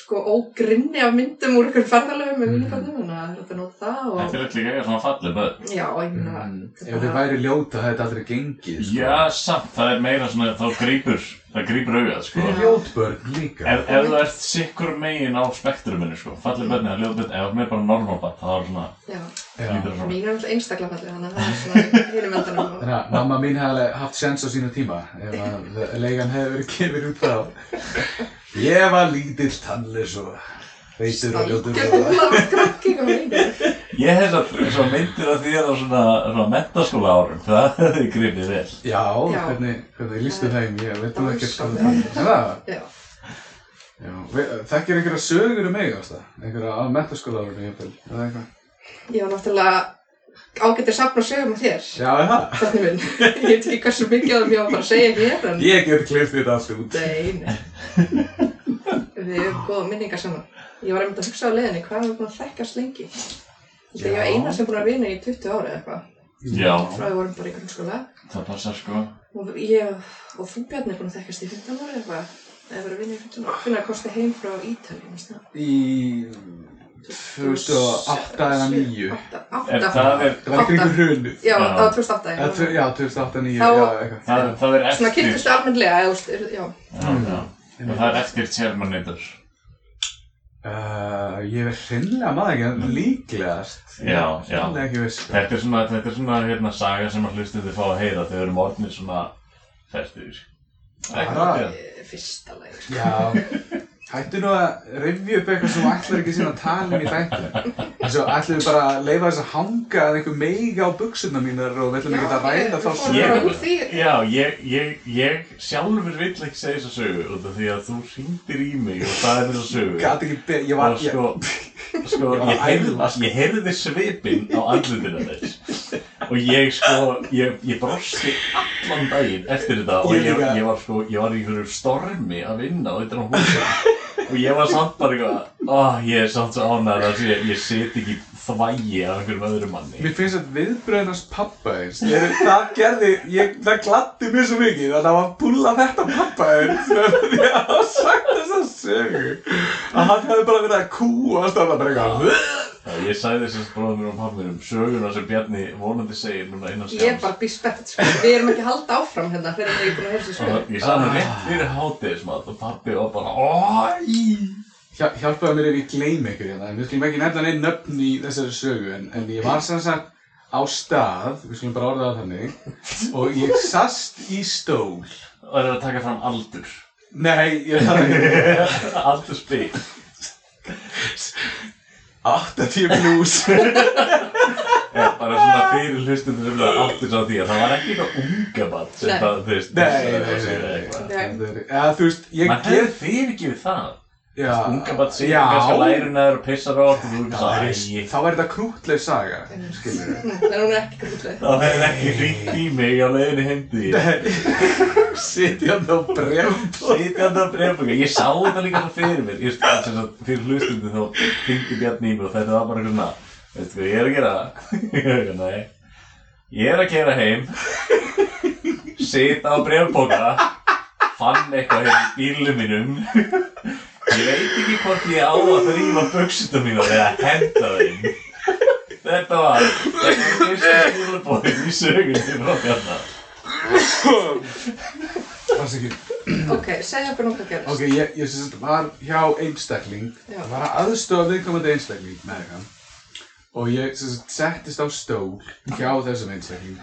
Speaker 3: sko, ógrinni af myndum úr ykkur ferðalöfum með mínu börnum, þannig að þetta nota það og,
Speaker 2: Þetta er líka eitthvað svona fallið börn.
Speaker 3: já, ég meina,
Speaker 4: Mm. Ef
Speaker 3: þetta
Speaker 4: þau
Speaker 3: bara,
Speaker 4: væri ljóta, það hefði aldrei gengið, sko.
Speaker 2: Já, samt, það er meira svona, þá grýpur, það grýpur augað, sko.
Speaker 4: Þeir eru ljótbörn líka.
Speaker 2: Ef, ef þú ert sikkur megin á spektruminu, sko, fallið börnin eða ljóðbörn, ef þú er bara normalbatt, þá er svona,
Speaker 3: já,
Speaker 4: Já.
Speaker 2: lítur það svona.
Speaker 3: mínu er alltaf einstaklega fallið, þannig að það er svona í hinum endanum og,
Speaker 4: Þannig að mamma mín hefði alveg haft sens á sína tíma ef að leigan hefði verið kemur út þá. Ég var lítill tannlis og veitur og ljótur
Speaker 3: algjör
Speaker 4: og
Speaker 3: úlað krakki, hvað meina,
Speaker 2: Ég hef svo, svo myndir af þér á svona, svona mentaskóla árum, það hefði grýpið vel.
Speaker 4: Já,
Speaker 3: Já.
Speaker 4: hvernig, hvernig lístu þeim, ég veit nú ekkert
Speaker 3: Það
Speaker 4: hvað
Speaker 3: var
Speaker 4: það er. Er það.
Speaker 3: já,
Speaker 4: Já, Ve- Þekkir einhverja sögur um mig, ásta? Einhverja á mentaskóla árið, ég vil, eða eitthvað.
Speaker 3: ég var náttúrulega ágættir safn og sögum af þér.
Speaker 4: Já, er það?
Speaker 3: Þannig minn, ég veit ekki hversu mikið af þeim ég á bara að segja hér en
Speaker 4: Ég get klift þetta allt út.
Speaker 3: Nei, nei. Við höfum góða minningar saman. Ég var einmitt að hugsa á leiðinni, hvað er búin að þekkast lengi? Þetta ég var
Speaker 4: Já.
Speaker 3: eina sem búin að vinna í 20 ári eða eitthvað.
Speaker 2: Já,
Speaker 3: Frá við vorum bara í grunnskóla.
Speaker 2: það passar, sko.
Speaker 3: Og ég og þú Bjarni er búin að þekkast í 15 ári eða eitthvað. Eða verið að vinna í 15 ári. Hvernig kosti heim frá Ítalíu, minnst það?
Speaker 4: Í 2008 eða 2009.
Speaker 3: 8,
Speaker 2: Ef
Speaker 3: 8.
Speaker 2: það er,
Speaker 4: Það var kringur hrunið.
Speaker 3: Já,
Speaker 2: Já.
Speaker 3: það var 2008.
Speaker 4: Eða tvö-
Speaker 3: já.
Speaker 4: Já, 2008-2009, já,
Speaker 3: Þá-
Speaker 4: eitthvað.
Speaker 2: það, er- það er
Speaker 3: Svona
Speaker 2: eftir,
Speaker 3: kynntustu almennlega, eða, þú veist, já.
Speaker 2: já, já. Og það er eftir Terminator.
Speaker 4: Uh, ég er hreinlega maður ekki, en líklegast.
Speaker 2: Já,
Speaker 4: Ég er
Speaker 2: já.
Speaker 4: hreinlega ekki viss. sko.
Speaker 2: Þetta er svona, þetta er svona hérna saga sem að hlustu þið fá að heyra þegar við erum orðnir svona sko. ferstuðir.
Speaker 3: Eh,
Speaker 4: Bara-
Speaker 3: Fyrsta lagi.
Speaker 4: Já. Hættu nú að rifja upp eitthvað sem þú ætlar ekki síðan að tala um í þættinu. Eins og ætlum við bara að leifa þess að hanga að einhver meiga á buksuna mínar og við ætlum ekki að ræða
Speaker 3: Ég
Speaker 4: þá
Speaker 2: Ég-
Speaker 3: fór bara
Speaker 4: svo.
Speaker 3: úr því
Speaker 2: Já, ég, ég, ég sjálfur vill ekki segja þessa sögu út af því að þú hringdir í mig og það er þessa sögu
Speaker 4: Gat ekki beð, ég var,
Speaker 2: og
Speaker 4: ég,
Speaker 2: sko, sko
Speaker 4: Ég var
Speaker 2: ég, heyrði,
Speaker 4: æðilega.
Speaker 2: ég heyrði svipinn á andlutinu þess og ég sko, ég, ég brosti allan daginn eftir þetta og
Speaker 4: Ég
Speaker 2: ég,
Speaker 4: líka.
Speaker 2: ég var sko, ég var í einhverju stormi að vinna og þetta er á húsa og ég var samt bara eitthvað oh, ég er samt svo ánæður að ég, ég set ekki í þvægi af einhverjum öðrum manni
Speaker 4: mér finnst að viðbröðinans pappa eins, ég, það gerði, ég, það gladdi mér svo mikið að það var að púla þetta pappa eins, þegar ég hafa sagt þess að sögu. Að hann hefði bara verið að kúast og það bara eitthvað,
Speaker 2: Já, Ég sagði þessast bróðum mér og pappum mér um söguna sem Bjarni vonandi segir núna innan
Speaker 3: Ég er bara býst spennt, sko. Við erum ekki að halda áfram hérna fyrir að ég er búin að heyra þessu
Speaker 2: Og
Speaker 3: sko.
Speaker 2: Ég sagði hann rétt fyrir hátegismat og pappi var bara Ói
Speaker 4: Hjá- Hjálpaðu mér ef ég gleym ykkur hérna, en við skulum ekki nefna neinn nöfn í þessari sögu, en, en ég var sem sagt á stað, við skulum bara orða það þannig, og ég sast í stól.
Speaker 2: Og það er að taka fram aldur
Speaker 4: Nei, ég þarf ekki,
Speaker 2: Aldur spil
Speaker 4: 80 plus.
Speaker 2: Eða bara svona fyrir hlustundur sem það aldur sá því að það var ekki eitthvað unga bann sem
Speaker 3: Nei.
Speaker 2: það, þú veist
Speaker 4: Nei, nei,
Speaker 2: það
Speaker 4: nei,
Speaker 2: segir
Speaker 4: nei,
Speaker 2: eitthvað.
Speaker 4: nei. Þetta er- Eða þú veist, ég
Speaker 2: Man hefði fyrirgefið það
Speaker 4: já,
Speaker 2: Unga bann segir
Speaker 4: já,
Speaker 2: kannski að læruna er og pissar á og þú
Speaker 4: þá væri-
Speaker 2: veist
Speaker 4: Þá væri þetta krútleg saga, skilur við.
Speaker 3: En hún er ekki grútleg.
Speaker 2: Það hefði ekki hringt í mig á leiðinni heimdi
Speaker 4: Sitjandi á brembo.
Speaker 2: Sitjandi að breyfbaka, ég sá þetta líka svo fyrir mér Ég stóð sem sagt fyrir hlustundu þá hringdi Bjarni í mig og þetta var bara eitthvað svona Veistu hvað ég er að gera? Ég er að gera heim sit á brefbóka fann eitthvað hér í bílum mínum ég veit ekki hvort ég á að þrýfa buksundum mína eða henda þeim þetta var þetta var fyrsta skilabóðin í sögunni frá Bjarna
Speaker 4: Afsakið.
Speaker 3: Ok, segja okkur nú hvað gerist.
Speaker 4: Ok, ég, ég sem sagt var hjá einstakling,
Speaker 3: Já.
Speaker 4: var að aðstofa viðkomandi einstakling með eitthvað og ég sem sagt settist á stól hjá þessum einstakling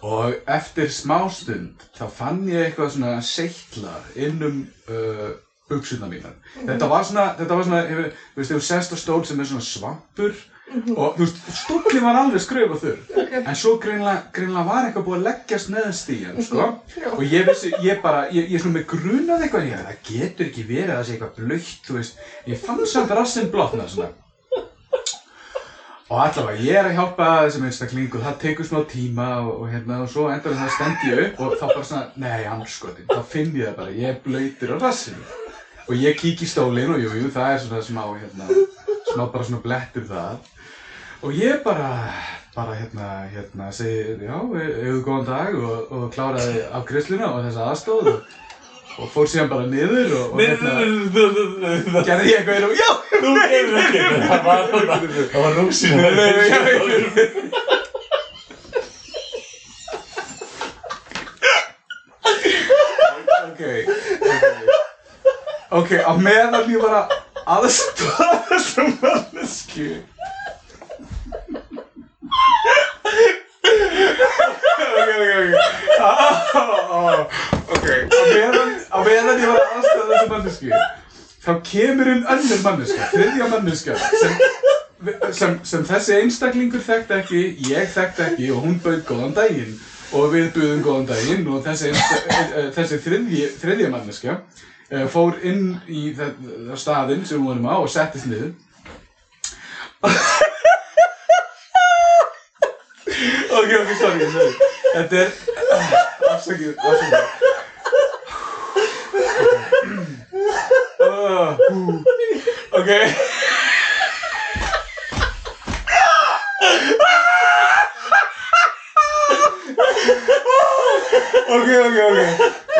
Speaker 4: og eftir smástund þá fann ég eitthvað svona seittla inn um uh, buksuna mínar. Þetta var svona, þetta var svona, hefur, þú veist, hefur sest á stól sem er svona svampur og þú veist, stólinn var alveg skröfa þurr
Speaker 3: Ok.
Speaker 4: en svo greinlega, greinlega var eitthvað búið að leggjast neðast í hann, sko og ég vissi, ég bara, ég, ég svona með grunaði eitthvað, ég, það getur ekki verið að það sé eitthvað blöitt, þú veist, ég fann samt rassinn blotna svona og allavega, ég er að hjálpa þessum einstakling og það tekur smá tíma og, og hérna og svo endur það stend ég upp og þá bara svona, nei, anskotin, þá finn ég það bara, ég er blöytur á rassinu og ég kík í stólinn og jú, jú, það er svona smá, hérna, smá bara svona blettur það og ég bara, bara hérna, hérna, segi, já, hefur góðan dag og, og kláraði af grisluna og þessa aðstóð og, og fór síðan bara niður og, og hérna,
Speaker 2: þú
Speaker 4: gerði ég eitthvað og já,
Speaker 2: gerður ekki þetta. það var þarna- það var rúksinn
Speaker 4: Nei, nei, nei, nei, nei. ok, ok, ok, á meðan ég var að aðstofa þessum mannesku ok, ok, ok Á, á, ok, á meðan, á meðan ég var að aðstofa þessum mannesku þá kemur inn önnur manneska, þriðja manneska sem sem, sem þessi einstaklingur þekkt ekki, ég þekkt ekki og hún bauð góðan daginn og við buðum góðan daginn og þessi, einsta- e- e- þessi þriðji, þriðja manneska e, fór inn í þa- þa- staðinn sem hún varum á og settist niður ok, ok, sorry, sorry þetta er Ah, afsakið, afsakið Uh, hú. ok ok, ok, ok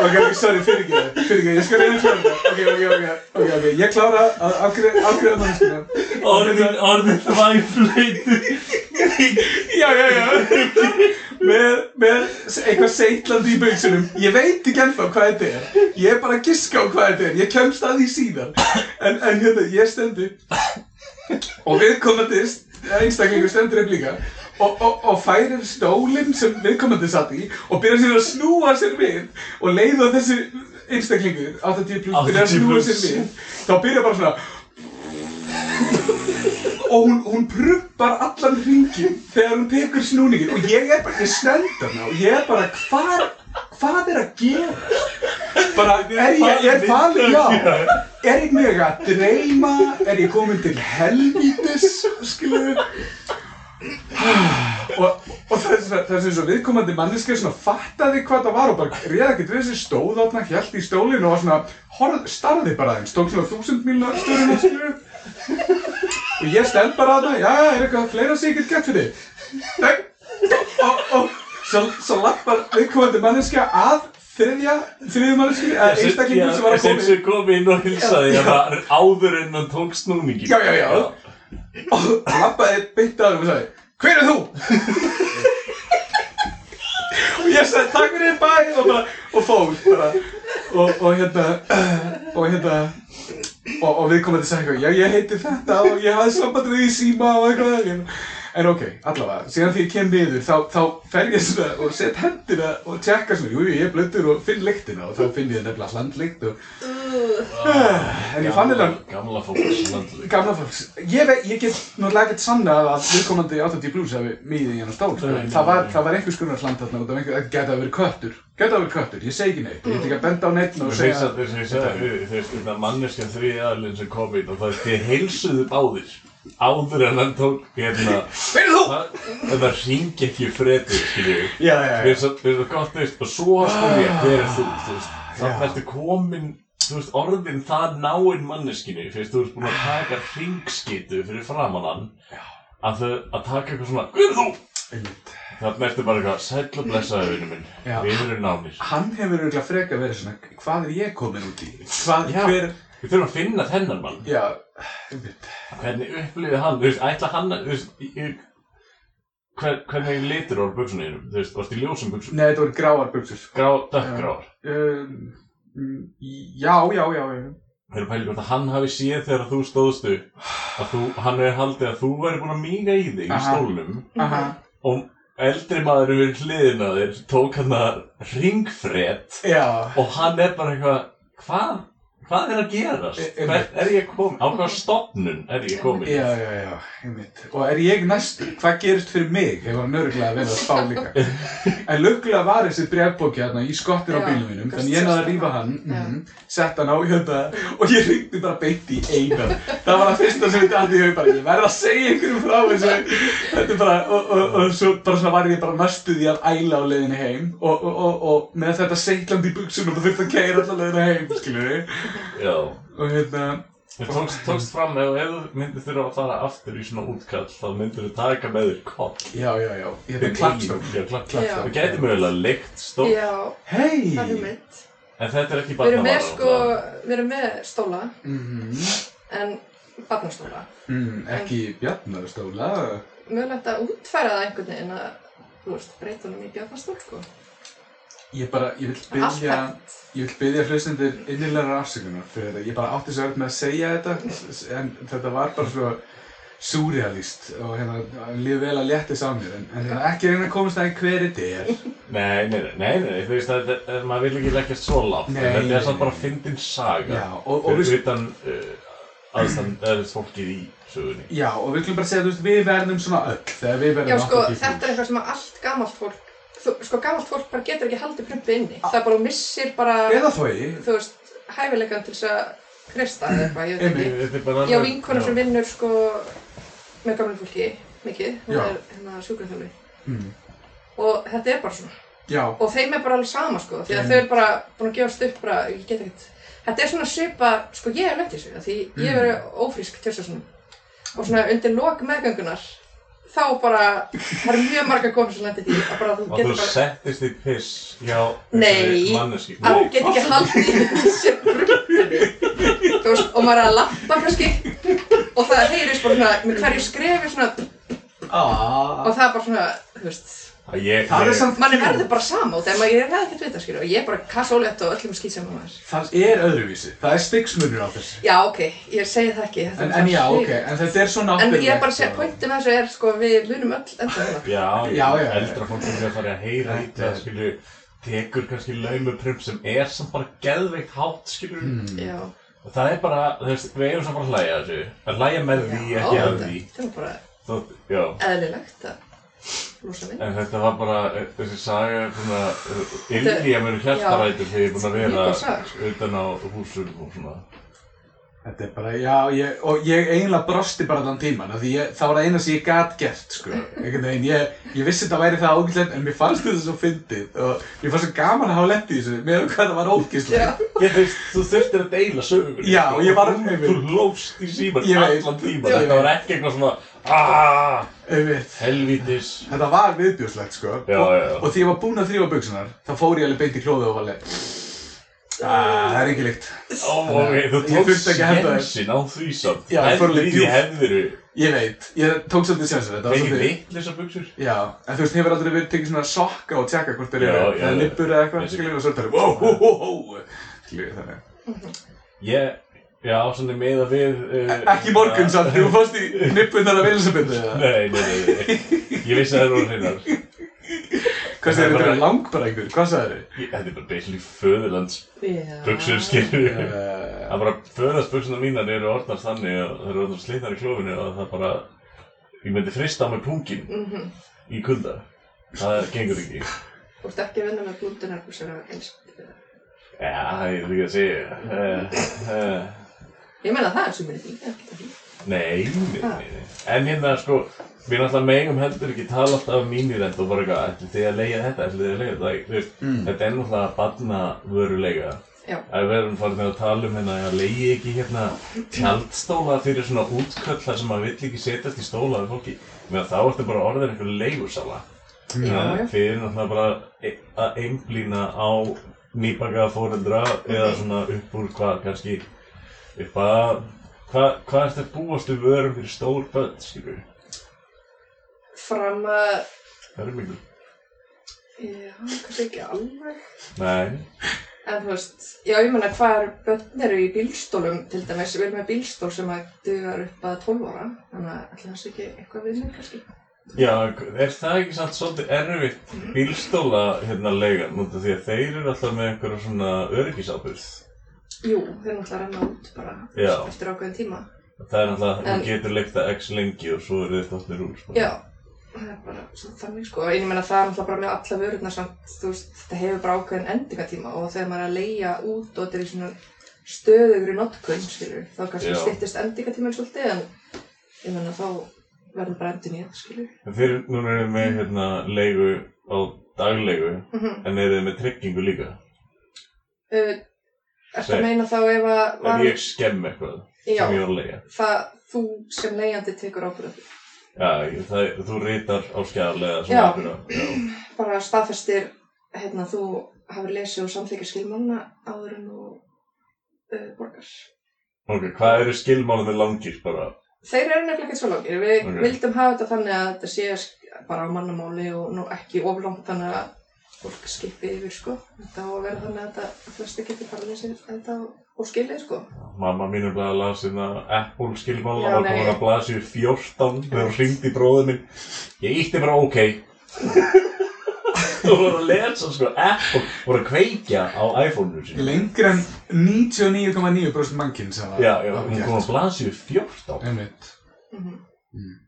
Speaker 4: Ok, ok, sorry, fyrir ekki það, fyrir ekki það, ég skal reyna að klára það Ok, ok, ok, ok, ok, ég klára að afgreða mannskuna
Speaker 2: orðin, orðin þvæflöytur
Speaker 4: Já, já, já Með, með eitthvað seitlandi í bauðsunum Ég veit ekki ennþá hvað þetta er Ég er bara að giska á hvað þetta er, ég kemst að því síðan En, en hérna, ég stendur Og viðkomandi einstaklingur stendur upp líka og, og, og færir stólinn sem viðkomandi satt í og byrjar sér að snúa sér við og leiða þessi einstaklingur 80 pluss byrjar að
Speaker 2: 80
Speaker 4: snúa sér
Speaker 2: plús.
Speaker 4: við þá byrjar bara svona og hún, hún prumpar allan hringin þegar hún tekur snúningin og ég er bara, ég stend hana og ég er bara, hvað, hvað er að gera? Bara, er ég, ég er falið, já Er ég mjög að dreyma? Er ég komin til helvítis? Skilu Og, og það er svona- það er sem svo viðkomandi manneski svona fattaði hvað það var og bara réða ekkert við þessi stóð átna, hjælt í stólinn og var svona, horf, starði bara aðeins, tók svona þúsund mílna stöðun og skilu og ég stend bara að það, já, er eitthvað fleira sem ég get gert fyrir þig? Nei, og, og, og svo, svo lappar viðkomandi manneskja að þriðja, þriðja manneski, eða einstaklingur sem var að
Speaker 2: sem
Speaker 4: koma
Speaker 2: sem kom inn og hilsaði að það er áður en hann tók snúningin
Speaker 4: Já, já, já. og lappaði beint að hann og sagði Hver er þú? og ég sagði takk fyrir bæð og bara og fór bara og, og hérna og hérna og, og við komum til að segja eitthvað já ég heiti þetta og ég hafði samband við í síma og eitthvað en, en ok, allavega, síðan því ég kem niður þá, þá fer ég svona og set hendina og tjekka svona, jú, jú, ég er blöndur og finn lyktina og þá finn ég nefnilega hlandlykt og Ah, en ég fann þetta
Speaker 2: Gamla fólk
Speaker 4: Gamla fólks, ég, veit, ég get náttúrulega ekkert sannað að viðkomandi 80 blues hafi miðið í hann á stól sko.
Speaker 2: Nei, nei,
Speaker 4: það, var,
Speaker 2: nei.
Speaker 4: það var einhvers konar hland þarna út af einhver, það geta verið köttur Geta verið köttur, ég segi ekki neitt, ég get ekki að benda á neitt og
Speaker 2: Þú veist
Speaker 4: segja
Speaker 2: að þess að ég sagði, þú veist þetta manneskjan þriði aðlinn sem kom inn og það þið heilsuðu báðir áður en hann tók hérna
Speaker 4: Fyrir þú!
Speaker 2: það- þetta hring ekki fredi, skilju
Speaker 4: Já, já,
Speaker 2: Mér
Speaker 4: já,
Speaker 2: er svo- mér er svo gott, þú veist, og svo spyr ég, hver er þú, þú veist
Speaker 4: Ah. Já.
Speaker 2: Þannig ertu komin, þú veist, orðin það náinn manneskinu, þú veist, þú veist búin að taka hringskitu fyrir framann hann að, þau- að taka eitthvað svona, hver er þú?
Speaker 4: einmitt.
Speaker 2: Þarna ertu bara eitthvað sæll og blessaði vinnu minn.
Speaker 4: Já.
Speaker 2: Við erum nánir.
Speaker 4: Hann hefur auðvitað freka verið svona, hvað er ég komin út í? Hvað,
Speaker 2: Já.
Speaker 4: hver,
Speaker 2: Við þurfum að finna þennan mann.
Speaker 4: já, einmitt.
Speaker 2: Hvernig upplifið hann? Þú veist, ætla hann að, þú veist, í- í- hver, hvernig litur voru buksunum þínum? Þú veist, varstu í ljósum buksum?
Speaker 4: Nei, þetta voru gráar buksur.
Speaker 2: Grá, dökkgráar.
Speaker 4: Um, mm, já, já, já, já.
Speaker 2: Þeir eru pælið hvort að hann hafi séð þegar þú stóðstu að þú, hann hefur haldið að þú væri búin að míga í þig í
Speaker 4: Aha.
Speaker 2: stólnum
Speaker 4: Aha,
Speaker 2: og eldri maður við hliðina á þér tók hann að ringfrett
Speaker 4: já.
Speaker 2: og hann er bara eitthvað, hvað, hvað er að
Speaker 4: E-
Speaker 2: gerast?
Speaker 4: einmitt.
Speaker 2: Hver, er ég komin? Á hvað stofnun er ég komin?
Speaker 4: Já, já, já, einmitt. Og er ég næstur? Hvað gerist fyrir mig? Hefur hann örgulega verið að spá líka. En lukkulega var þessi brefbóki hérna í skottir á
Speaker 3: Já,
Speaker 4: bílum mínum,
Speaker 3: gast
Speaker 4: þannig ég náði að
Speaker 3: sérstaka.
Speaker 4: rífa hann,
Speaker 3: Já.
Speaker 4: mm, sett hann á hérna og ég ringdi bara beint í einan. Það var það fyrsta sem ég dætti í hug bara, ég verð að segja einhverjum frá þessu. Þetta er bara, og, og, og, svo bara svona var ég bara næstu því að æla á leiðinni heim og, og, og, og með þetta seiklandi í buksunum og þurfti að keira alltaf leiðina heim, skilur
Speaker 2: Já.
Speaker 4: Og hérna,
Speaker 2: Þú tókst, tókst fram ef, ef þú myndir þurfa að fara aftur í svona útkall þá myndir þú taka með þér koll
Speaker 4: já, já, já, hérna
Speaker 2: Við
Speaker 4: klappstól.
Speaker 2: Já, klapp,
Speaker 3: Já.
Speaker 2: Við gætum mögulega leikt stók
Speaker 3: Já,
Speaker 4: Hei!
Speaker 3: það er mitt.
Speaker 2: En þetta er ekki
Speaker 3: Við erum með
Speaker 2: barnavara,
Speaker 3: sko, við erum með stóla,
Speaker 4: Mhm.
Speaker 3: en barnastóla.
Speaker 4: Mm, ekki bjarnarstóla.
Speaker 3: Mögulegt að útfæra það einhvern veginn að, þú veist, breyta honum í bjarnastól, sko.
Speaker 4: Ég bara, ég vil
Speaker 3: Allt
Speaker 4: byrja,
Speaker 3: hægt.
Speaker 4: ég vil byrja hlustendur innilegra afsökunar fyrir þetta. Ég bara átti svo öll með að segja þetta, s- en þetta var bara svo surrealist og hérna, líf vel að léttis á mér, en, en hérna, ekki reyna að komast að hver þetta er.
Speaker 2: Nei, nei, nei, nei, nei, þú veist að þetta- maður vil ekki leggja svo lágt en
Speaker 4: Nei,
Speaker 2: Þetta
Speaker 4: nei,
Speaker 2: er samt
Speaker 4: nei.
Speaker 2: bara fyndin saga
Speaker 4: Já, og, og
Speaker 2: Fyrir
Speaker 4: við,
Speaker 2: utan uh, aðstand, eða fólkið í sögunni
Speaker 4: já, og við klum bara segja, þú veist, við verðum svona öll þegar við
Speaker 3: Já,
Speaker 4: verðum
Speaker 3: sko,
Speaker 4: 80 plús.
Speaker 3: þetta er eitthvað sem að allt gamalt fólk, þú, sko, gamalt fólk bara getur ekki haldið prumpi inni.
Speaker 4: Ah.
Speaker 3: Það bara missir bara,
Speaker 4: Eða þói,
Speaker 3: þú veist, hæfilegan til þess að kreista eða eitthvað, ég veit ekki.
Speaker 4: Einmitt.
Speaker 2: Þetta er bara
Speaker 3: Ég á
Speaker 2: alveg-
Speaker 3: vinkonu sem vinnur sko með gamlega fólki mikið, hún
Speaker 4: Já.
Speaker 3: er hérna sjúkraþjóli
Speaker 4: mm,
Speaker 3: og þetta er bara svona
Speaker 4: já,
Speaker 3: og þeim er bara alveg sama sko því að þau eru bara búin að gefast upp bara, ég get ekkert þetta er svona svipa, sko ég er lent í þessu af því ég
Speaker 2: Mm.
Speaker 3: hef verið ófrísk til þess að og svona undir lok meðgöngunar þá bara, það eru mjög marga konur sem lendir því að bara þú
Speaker 2: Og þú
Speaker 3: getur bara
Speaker 2: settist í piss hjá
Speaker 3: Nei.
Speaker 2: manneski
Speaker 3: að þú get ekki haldið í þessu rúppinni þú veist, og maður er að lappa kannski og það heyrist bara svona, með hverju skrefi svona
Speaker 4: aaaah.
Speaker 3: og það er bara svona, þú veist
Speaker 2: Ég,
Speaker 4: Ah, Það er
Speaker 2: ég,
Speaker 4: samt
Speaker 3: manni
Speaker 4: cute.
Speaker 3: verður bara sama út en maður er ekki að vita skilju og ég er bara kassólett og öllum skýt sem maður
Speaker 4: Það er öðruvísi, það er stigsmunur á þessu.
Speaker 3: já ok, ég segi það ekki þetta er
Speaker 4: En,
Speaker 3: bara
Speaker 4: en já,
Speaker 3: sniðugt.
Speaker 4: ok, en þetta er svona
Speaker 3: en ég er bara að
Speaker 4: náttúrulegt sko.
Speaker 3: segja,
Speaker 4: og-
Speaker 3: pointin að þessu er sko við munum öll enda
Speaker 2: Já,
Speaker 3: þarna
Speaker 4: Já, já, já.
Speaker 2: eldra fólk sem er að fara að heyra í
Speaker 4: Þetta
Speaker 2: það,
Speaker 4: er-
Speaker 2: skilju, tekur kannski laumuprum sem er samt bara geðveikt hátt, skilju.
Speaker 4: Hmm.
Speaker 3: já,
Speaker 2: Og það er bara, þú veist, við erum samt bara að hlæja að þessu. Að hlæja með
Speaker 3: já,
Speaker 2: því, ekki að
Speaker 3: þetta
Speaker 2: því.
Speaker 3: þetta var bara
Speaker 2: Þó, já,
Speaker 3: eðlilegt að lúsa minn
Speaker 2: en þetta var bara, eh, þessi saga er svona, ylgja mér hjartarætur þegar ég er búin að
Speaker 3: Mjög góð
Speaker 2: vera
Speaker 3: saga, sko.
Speaker 2: utan á húsum og svona.
Speaker 4: Þetta er bara, já, ég, og ég eiginlega brosti bara allan tíman, af því ég, það var það eina sem ég gat gert, sko. Einhvern veginn, ég, ég vissi þetta væri það ógæslegt, en mér fannst þetta svo fyndið, og mér fannst svo gaman að hafa lett í þessu, með hvað það
Speaker 3: já,
Speaker 4: var ógæslegt.
Speaker 2: Ég veist, þú þurftir að deila sögur.
Speaker 4: Já, og ég var-
Speaker 2: Þú lófst í síman
Speaker 4: Ég veit.
Speaker 2: allan tíma.
Speaker 4: Ég
Speaker 2: Þetta var
Speaker 4: veit.
Speaker 2: ekki eitthvað svona, aaaah,
Speaker 4: Einmitt.
Speaker 2: helvítis.
Speaker 4: Þetta var viðbjóðslegt, sko.
Speaker 2: Já,
Speaker 4: og,
Speaker 2: já, já.
Speaker 4: Og því ég var búinn að þrýfa buksunar, þá fór ég alveg beint í klóðu og var alveg, aaa, það er ekki líkt.
Speaker 2: Ó, ok, þú
Speaker 4: Ég
Speaker 2: tókst
Speaker 4: þurfti ekki að henda þér.
Speaker 2: sjensin á því samt
Speaker 4: Já, ég fór alveg
Speaker 2: Hefðir í
Speaker 4: djúpt.
Speaker 2: hefðir
Speaker 4: Ég veit, ég tók svolítið sjans þetta var
Speaker 2: Fengið
Speaker 4: svolítið...
Speaker 2: vitlisa buksur
Speaker 4: Já, en þú veist, hefur aldrei verið tekið svona sokka og tjekka hvort þeir
Speaker 2: Já,
Speaker 4: eru,
Speaker 2: já,
Speaker 4: eða
Speaker 2: já.
Speaker 4: lippur eða eitthvað,
Speaker 2: Þessi-
Speaker 4: skiljum, og svo talar, wow, hó, hó, hó, skiljum, þannig.
Speaker 2: Ég, já, svona með að við uh,
Speaker 4: E, Ekki í morgun samt, þú fórst í nippunar af Elisabethu, eða?
Speaker 2: Nei, nei, nei, nei Ég vissi að það voru hreinar Ég- Það
Speaker 4: Hvað
Speaker 2: er
Speaker 4: segir þetta
Speaker 2: bara-
Speaker 4: er lang bara einhver, hvað sagði þið?
Speaker 2: Þetta er bara beisli föðurlands
Speaker 3: já.
Speaker 2: buksur skilur
Speaker 4: Uh,
Speaker 2: Það bara föðurlands buksuna mínar eru orðnast þannig og það eru orðnast slitnar í klófinu og það bara Ég myndi frista á mig pungin
Speaker 3: Mhm.
Speaker 2: í kulda Það gengur ekki
Speaker 3: þú ert ekki að vinna með blúndunar
Speaker 2: Já, það er ekki að segja uh, uh,
Speaker 3: ég meina það er sem minni því
Speaker 2: Nei, nei,
Speaker 3: Ha.
Speaker 2: nei, nei. En hérna, sko, við náttúrulega megum heldur ekki tala alltaf um mínir enda og bara eitthvað, ætli þið að leiða þetta, ætli þið að leiða þetta, þú veist, þetta er náttúrulega barnavörulega
Speaker 3: Já.
Speaker 2: að við erum farin að tala um hérna að leiði ekki hérna tjaldstóla fyrir svona útköll þar sem maður vill ekki setjast í stóla við fólki meðan þá ertu bara orðin einhver leigusala
Speaker 3: já.
Speaker 2: þið eru náttúrulega bara e- að einblýna á nýbakaða fóreldra eða svona upp úr hvað kannski upp að hvað hva ertu að búast við vörum fyrir stór börn skilur
Speaker 3: Fram að,
Speaker 2: það eru mikil
Speaker 3: já, kannski ekki alveg.
Speaker 2: nei
Speaker 3: En þú veist, já, ég meina hvar börn eru í bílstólum til dæmis. Við erum með bílstól sem að dugar upp að 12 ára. Þannig að ætli það sé ekki eitthvað við mig kannski.
Speaker 2: Já, er það ekki samt svolítið erfitt bílstóla hérna leigan út af því að þeir eru alltaf með einhverja svona öryggisábyrð
Speaker 3: Jú, þeir náttúrulega renna út bara
Speaker 2: Já.
Speaker 3: eftir ákveðin tíma.
Speaker 2: Það er alltaf, þú
Speaker 3: En-
Speaker 2: getur leikt að x lengi og svo eru þið þóttir úr sko.
Speaker 3: Já, það er bara svolítið þannig sko. En ég meina það er náttúrulega bara með alla vörurnar samt, þú veist, þetta hefur bara ákveðin endingatíma og þegar maður er að leia út og þetta er í svona stöðugri notkun, skilur, þá kannski
Speaker 2: Já.
Speaker 3: styttist endingatíminn svolítið en ég meina þá verður bara endur nýjað, skilur.
Speaker 2: En þeir núna eru með hérna leigu á daglegu
Speaker 3: Mm -hmm.
Speaker 2: en eru þið með tryggingu líka
Speaker 3: uh, Ertu
Speaker 2: Nei.
Speaker 3: að meina þá ef að
Speaker 2: Ef ég skemm eitthvað
Speaker 3: Já,
Speaker 2: sem ég var að leiga
Speaker 3: það þú sem leigjandi tekur ábyrðið.
Speaker 2: Já, ég- það, þú rítar á skjaflega
Speaker 3: Já.
Speaker 2: svona einhverja Já,
Speaker 3: Bara staðfestir, hérna, þú hafur lesið og samþykir skilmána áður en þú uh, borgar.
Speaker 2: ok, hvað eru skilmálanir langir bara?
Speaker 3: Þeir eru nefnilega ekkert svo langir. Við
Speaker 2: Ok.
Speaker 3: vildum hafa þetta þannig að þetta sé sk- bara á mannamáli og nú ekki oflangt þannig að fólk skipi yfir sko. Þetta á að vera þannig að þetta flesti getur bara lesið þetta og, og skilið sko.
Speaker 2: Mamma mín er bara að lasa hérna Apple skilmála
Speaker 3: Já,
Speaker 2: og
Speaker 3: nei.
Speaker 2: komin að blaðsju 14 þegar hún hringdi í bróður minn. Ég ítti bara OK. Þú voru að lesa sko Apple, voru að kveikja á iPhone-u sín.
Speaker 4: Lengur en 99,9% mannkinn sem var
Speaker 2: Já, já,
Speaker 4: var
Speaker 2: hún
Speaker 4: gert.
Speaker 2: kom að blaðsju 14.
Speaker 4: Einmitt
Speaker 3: Mm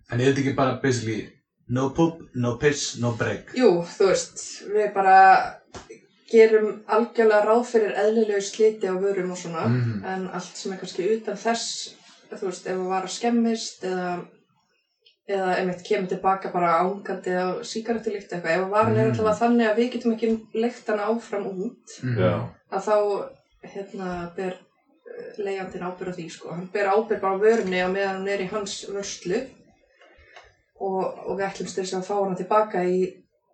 Speaker 4: En er þetta ekki bara basically No poop, no piss, no break
Speaker 3: Jú, þú veist, við bara gerum algjörlega ráð fyrir eðlilegu sliti á vörum og svona.
Speaker 4: Mhm.
Speaker 3: En allt sem er kannski utan þess, þú veist, ef það var að skemmist eða eða einmitt kemur tilbaka bara ángandi á síkarettulíkt eitthvað, ef varan er
Speaker 4: Mm.
Speaker 3: alltaf þannig að við getum ekki leikt hana áfram út,
Speaker 4: Mhm.
Speaker 2: Já,
Speaker 3: að þá hérna ber eh, leigjandinn ábyrð á því sko, hann ber ábyrð bara á vörunni á meðan hún er í hans vörslu og, og við ætlumst til þess að fá hana tilbaka í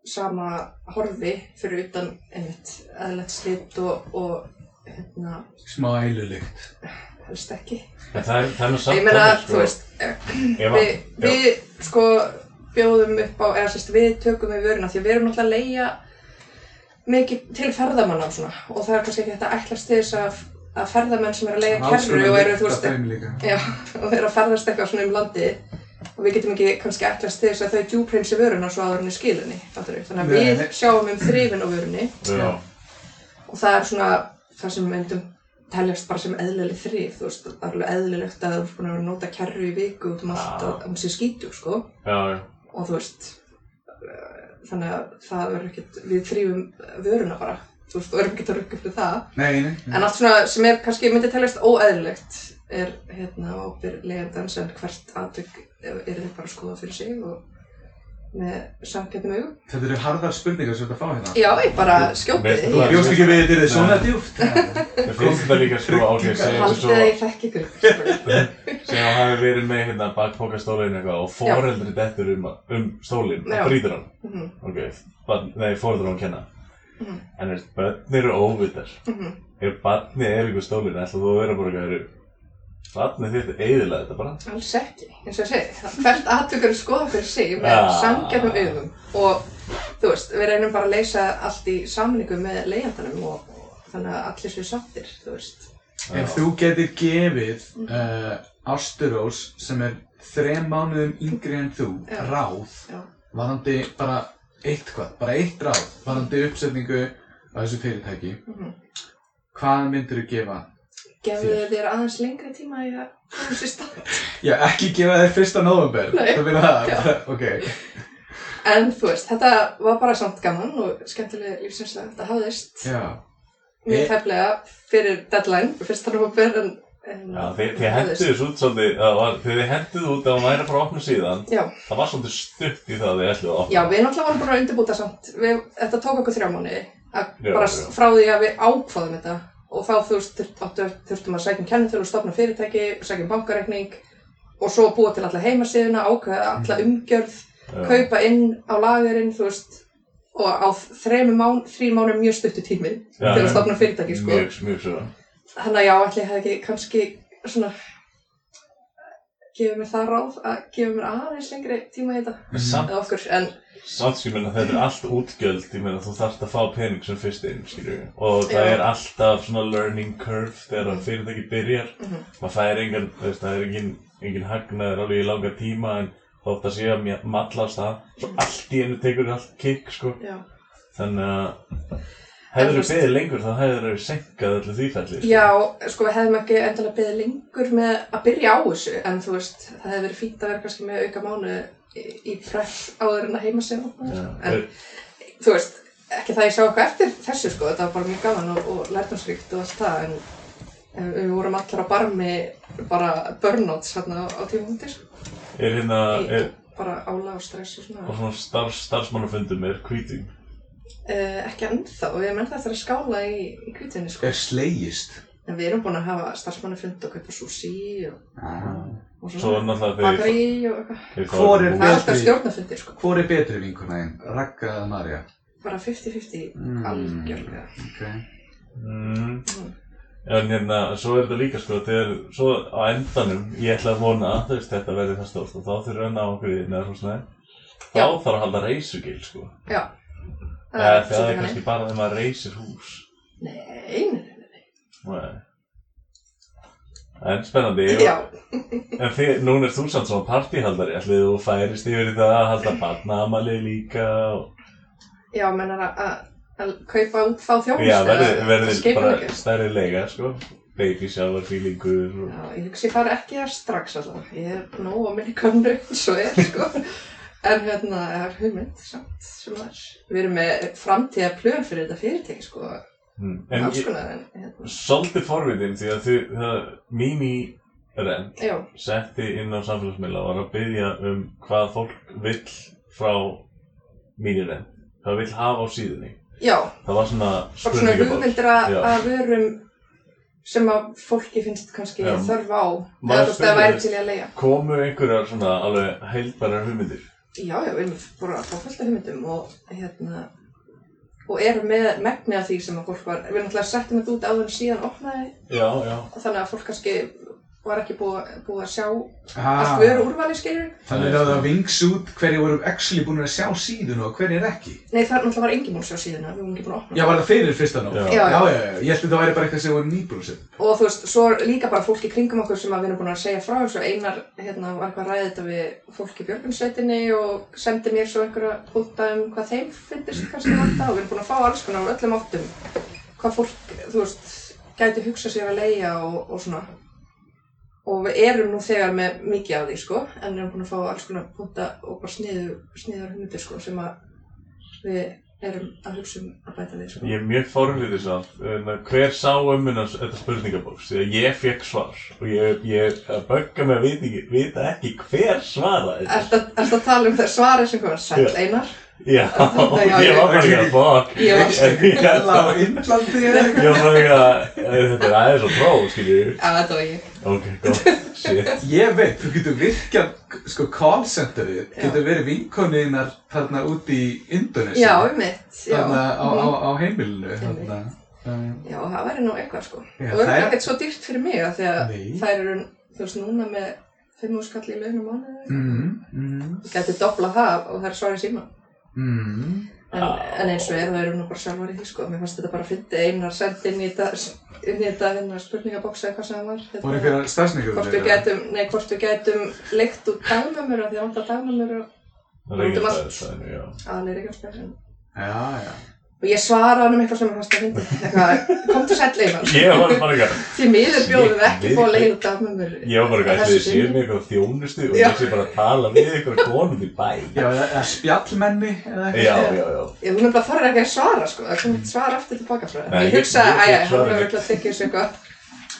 Speaker 3: sama horfi fyrir utan einmitt eðlert slitt og, og hérna
Speaker 4: Smá ælulykt
Speaker 3: helst ekki
Speaker 2: en það er þannig samt
Speaker 3: ég meina,
Speaker 2: þannig, sko.
Speaker 3: þú veist, eh,
Speaker 2: ef að-
Speaker 3: við, við sko bjóðum upp á, eða sérst við tökum við vöruna því að við erum náttúrulega að leia mikið til ferðamanna og svona og það er kannski ekki hægt að ætlast til þess að, að ferðamenn sem eru að leia kerru og eru, þú veist,
Speaker 4: þeim líka
Speaker 3: já, og eru að ferðast eitthvað svona um landi og við getum ekki kannski ætlast til þess að þau djúpreinsi vöruna svo áður henni skilinni, þannig að
Speaker 4: Nei,
Speaker 3: við
Speaker 4: nei.
Speaker 3: sjáum um þrifin á vörunni
Speaker 2: Já,
Speaker 3: og það er svona það sem við myndum teljast bara sem eðlileg þrif þú veist, það er alveg eðlilegt að þú ert búin að vera að nota kerru í viku út um allt
Speaker 2: Já.
Speaker 3: að hún sé skítu, sko
Speaker 2: já, já.
Speaker 3: og þú veist eh, þannig að það verður ekkert við þrýfum vöruna bara þú veist, og erum ekkert að rugga fyrir það
Speaker 4: Nei, nei, nei.
Speaker 3: en allt svona sem er kannski myndi teljast óeðlilegt er hérna ábyrg leigjandans en hvert atvik er þau bara að skoða fyrir sig og með samkjöndum augum
Speaker 4: Þetta eru harðar spurningar sem þetta fá hérna
Speaker 3: já, ég bara skjótið
Speaker 2: Veistu
Speaker 4: Þú
Speaker 2: hvað-
Speaker 3: því.
Speaker 4: bjóst ekki við þetta er svona
Speaker 2: Nei.
Speaker 4: djúft
Speaker 2: Mér finnst þetta líka sko, ok, segjum við
Speaker 3: haldið
Speaker 2: svo
Speaker 3: að ég þekk ykkur ekki, sko.
Speaker 2: sem hann hafi verið með hérna bakpokastólinn eitthvað og foreldri dettur um, um stólinn
Speaker 3: Já.
Speaker 2: og brýtur hann
Speaker 3: Mhm,
Speaker 2: ok, barn, nei, fórður hún kenna
Speaker 3: Mhm.
Speaker 2: en veist, börn eru óvitar
Speaker 3: mhm.
Speaker 2: ef barni er ykkur stólin ætla þú að vera bara eitthvað eru barni þitt eiðilega þetta bara
Speaker 3: Alls ekki, eins og ég segi, hvert aðtökur er skoða fyrir sig með ja.
Speaker 2: Já.
Speaker 3: samgjörnum augum og þú veist, við reynum bara að leysa allt í samningu með leiðandanum og, og þannig að allir séu sattir, þú veist.
Speaker 4: Ef þú getur gefið uh, Ásturós sem er þrem mánuðum yngri en þú
Speaker 3: Já.
Speaker 4: ráð
Speaker 3: Já.
Speaker 4: varandi bara eitthvað, bara eitt ráð varandi uppsetningu á þessu fyrirtæki
Speaker 3: Mm
Speaker 4: hvað myndir þú gefa?
Speaker 3: Gefðu þér aðeins lengri tíma í að koma sér stað.
Speaker 4: Já, ekki gefa þér fyrsta november
Speaker 3: Nei.
Speaker 4: það fyrir það,
Speaker 3: Já.
Speaker 4: bara, ok
Speaker 3: En þú veist, þetta var bara samt gaman og skemmtileg lífsinslega þetta hafðist
Speaker 4: Já,
Speaker 3: mjög
Speaker 4: Ég-
Speaker 3: teflega fyrir deadline, fyrsta november en, en
Speaker 2: Já, þið, þið
Speaker 3: hafðist.
Speaker 2: henduðus út svolítið, það var, þið henduðu út að hún væri bara opnu síðan
Speaker 3: Já.
Speaker 2: Það var svolítið stutt í það að þið ætluðu að opna
Speaker 3: Já, við náttúrulega vorum búin að undirbúta samt. Við, þetta tók okkur þrjá mánuði. að
Speaker 2: Já,
Speaker 3: bara
Speaker 2: já.
Speaker 3: frá því að við ákvaðum þetta og þá þú veist þur- áttu- þurftum að sækja um kennitölu, stofna fyrirtæki, sækja um bankareikning og svo búa til alla heimasíðuna, ákveða alla umgjörð,
Speaker 2: Mm. Já.
Speaker 3: kaupa inn á lagerinn, þú veist, og á þremur mán, þrý mánum mjög stuttu tími
Speaker 2: Já,
Speaker 3: til að
Speaker 2: já.
Speaker 3: stofna fyrirtæki, sko.
Speaker 2: Mjög, mjög svo.
Speaker 3: Þannig að já, ætli ég hef ekki kannski svona gefið mér það ráð að gefa mér aðeins lengri tíma í þetta
Speaker 2: En Samt,
Speaker 3: eða okkur, en
Speaker 2: samt sem ég meina þetta er allt útgjöld, ég meina þú þarft að fá pening sem fyrst inn, skilju. Og það
Speaker 3: Já.
Speaker 2: er alltaf svona learning curve þegar að fyrirtæki byrjar.
Speaker 3: Mhm.
Speaker 2: Maður fær engan, þú veist, það er engin, engin hagnaður alveg í langa tíma en þótt að sé að mja- malla á stað. Svo
Speaker 3: Mhm.
Speaker 2: allt í einu tekur allt kick, sko.
Speaker 3: já.
Speaker 2: Þannig að
Speaker 3: En þú
Speaker 2: hefur þú
Speaker 3: veist-
Speaker 2: beðið lengur þá hefur þú senkað öllu því fælli. sko.
Speaker 3: Já, sko við hefðum ekki endilega beðið lengur með að byrja á þessu en þú veist, það hefði verið fínt að vera kannski með auka mánu í, í prep áður en að heima sig
Speaker 2: Já,
Speaker 3: en
Speaker 2: er-
Speaker 3: þú veist, ekki það ég sá eitthvað eftir þessu sko, þetta var bara mjög gaman og, og lærtumsrikt og allt það en, en við vorum allar á barmi bara burnouts hérna á, á tímahundi sko,
Speaker 2: Er hérna, er,
Speaker 3: bara álag og stress og
Speaker 2: og
Speaker 3: svona
Speaker 2: svona starf, starfsmannafundum er kvíting.
Speaker 3: eh, ekki ennþá, við erum ennþá eftir að skála í, í kvítinni sko,
Speaker 4: Er slegist?
Speaker 3: en við erum búin að hafa starfsmannafund og kaupa sushi og,
Speaker 4: Ah.
Speaker 3: og
Speaker 2: Svo er
Speaker 3: svona,
Speaker 2: náttúrulega þegar
Speaker 3: bakari og eitthvað
Speaker 2: Þeir fá
Speaker 4: Hvor er
Speaker 2: þetta
Speaker 3: Það er
Speaker 2: búið.
Speaker 3: alltaf stjórnafundir sko,
Speaker 4: Hvor er betri vinkona þín? Ragga eða Marja?
Speaker 3: bara 50-50
Speaker 2: Hmm.
Speaker 4: Mm.
Speaker 3: algjörlega.
Speaker 4: Okay.
Speaker 2: Mm. En hérna, svo er þetta líka sko, þegar, svo á endanum, ég ætla að vona að þú veist, þetta verði það stórt og þá þurfum við að ná okkur í neða svona snæði. Þá
Speaker 3: Já.
Speaker 2: þarf að halda reysugil sko.
Speaker 3: Já.
Speaker 2: Eða það
Speaker 3: svolítið
Speaker 2: er kannski bara þegar maður reysir hús.
Speaker 3: þannig. Nei, nei, nei,
Speaker 2: Nei. En spennandi.
Speaker 3: nei.
Speaker 2: og-
Speaker 3: Já,
Speaker 2: En þið, núna er þú samt svona partíhaldari, ætlið þú færist yfir í það að halda barnaamali líka og...
Speaker 3: já, mennar að- að að kaupa út þá þjónust.
Speaker 2: Já, verðið verði bara
Speaker 3: skipulegja.
Speaker 2: stærri lega, sko. Baby shower feelingur og...
Speaker 3: Já, ég hugsi ég fari ekki að strax alltaf. Ég er nóg á minni könnu eins og er, sko. En hérna, það er hugmynd samt sem það er. Við erum með framtíða plön fyrir þetta fyrirtæki, sko.
Speaker 2: Mm. En
Speaker 3: Alls
Speaker 2: ég,
Speaker 3: konar, en hérna.
Speaker 2: svolítið forvitin því að þú, það, Mimi Ren
Speaker 3: Já,
Speaker 2: setti inn á samfélagsmiðla og var að byggja um hvað fólk vill frá Mimi Ren. Hvað vill hafa á síðunni.
Speaker 3: já,
Speaker 2: Það var svona
Speaker 3: bara svona
Speaker 2: spurningabóks.
Speaker 3: hugmyndir að
Speaker 2: um Já.
Speaker 3: að vörum sem að fólki finnst kannski
Speaker 2: Já.
Speaker 3: þörf á eða
Speaker 2: Maður
Speaker 3: þú veist að það
Speaker 2: spyrir-
Speaker 3: væri til í að leiða
Speaker 2: Komu einhverjar svona alveg heilbærar hugmyndir?
Speaker 3: já, já, við erum bara að fá fullt af hugmyndum og hérna og erum með megni af því sem að fólk var við náttúrulega settum þetta út áður en síðan opnaði
Speaker 2: Já, já.
Speaker 3: þannig að fólk kannski var ekki búið, búið að sjá
Speaker 4: Ah,
Speaker 3: allt vöru úrvali skilur
Speaker 4: þannig að það vings út hverju voru actually búin að sjá síðun og hverju er ekki.
Speaker 3: nei, það náttúrulega var engin búin að sjá síðan við vorum ekki búin að opna
Speaker 4: Já, var það fyrir fyrsta nóg?
Speaker 2: Já.
Speaker 4: já,
Speaker 3: Já, já.
Speaker 4: já, já. Ég held að það væri bara eitthvað sem var nýbrúsið.
Speaker 3: og þú veist, svo er líka bara fólk í kringum okkur sem að við erum búin að segja frá eins og Einar hérna, var eitthvað að ræða þetta við fólk í björgunsveitinni og sendi mér svo einhverja húnda um hvað þeim finnist kannski vanda og við erum búin að fá alls konar úr öllum áttum hvað fólk, þú veist, gæti hugsa sér að leia og, og svona og við erum nú þegar með mikið af því sko, en við erum búin að fá alls konar húnda og bara sniður, sniður hundir sko, sem að við erum að hugsa um að bæta við sko.
Speaker 2: Ég er mjög forviðið samt, en að hver sá ömmunans þetta spurningabóks? Þegar ég fekk svar og ég, ég að bögga mig að vita ekki, vita ekki hver svaraði þetta.
Speaker 3: Ertu að ertu að tala um það svarið sem kom að sæl
Speaker 2: Já.
Speaker 3: Einar?
Speaker 2: Já,
Speaker 3: já,
Speaker 2: ég var bara ekki að fokk.
Speaker 3: Ég var-
Speaker 2: Ég var
Speaker 4: Ella á Indlandi eða eitthvað.
Speaker 2: bara ekki að, þetta er aðeins og próf, skiljið.
Speaker 3: Já, þetta var ég.
Speaker 2: Ok, gott, shit.
Speaker 4: Ég veit, þú getur virkjað, sko, call centerið getur verið vinkoninnar þarna út í Indonesia.
Speaker 3: Já, um mitt. Já.
Speaker 4: Þarna á, á,
Speaker 3: Mhm.
Speaker 4: á heimilinu, þarna. Um,
Speaker 3: já, það væri nú eitthvað sko.
Speaker 4: Já,
Speaker 3: og það er
Speaker 4: það er-
Speaker 3: ekkert svo dýrt fyrir mig að því að
Speaker 4: Nei.
Speaker 3: þær eru, þú veist, núna með fimm og skall í launum mánuði.
Speaker 4: mm, mm,
Speaker 3: Ég gæti dobla það og það er svarið síma.
Speaker 4: mm.
Speaker 3: En,
Speaker 2: Já.
Speaker 3: en eins og er, það eru nú bara sjálfar í því sko. Mér fannst þetta bara að fyndi einar send inn í þetta, inn í þetta hérna, spurningaboksa eða hvað sem það var. Hérna,
Speaker 4: Voru einhverjar starfsningur?
Speaker 3: Hvort við gætum, nei, hvort við gætum leikt út dagnumur að því að vantar dagnumur að um
Speaker 2: Það er ekki aðeins, þannig, já.
Speaker 3: aðlega ekki alltaf sem.
Speaker 4: Já, já.
Speaker 3: Og ég svaraði hann um eitthvað sem hann fannst að fyndi. Eitthvað, kom til sæll einar.
Speaker 2: Ég var bara ekki að,
Speaker 3: Því miður bjóðum við ekki
Speaker 2: Shit,
Speaker 3: fá að leiða út af mömmur.
Speaker 2: ég var bara ekki að,
Speaker 3: Þessu
Speaker 2: ætli þið séu
Speaker 3: sinni.
Speaker 2: með eitthvað þjónustu og
Speaker 3: Já.
Speaker 2: ég sé bara að tala við eitthvað konum í bæ.
Speaker 4: Já, eða eða spjallmenni eða eitthvað.
Speaker 2: Já, já, já.
Speaker 3: Ég þú nefnilega þarf ekki að svara sko, það kom eitt svar aftur tilbaka frá það.
Speaker 2: Nei,
Speaker 3: Ég hugsaði,
Speaker 2: ég- ég-
Speaker 3: æja,
Speaker 2: ég
Speaker 3: hann
Speaker 2: svaraði ekki.
Speaker 3: hefur öll að tekja þessu eitthvað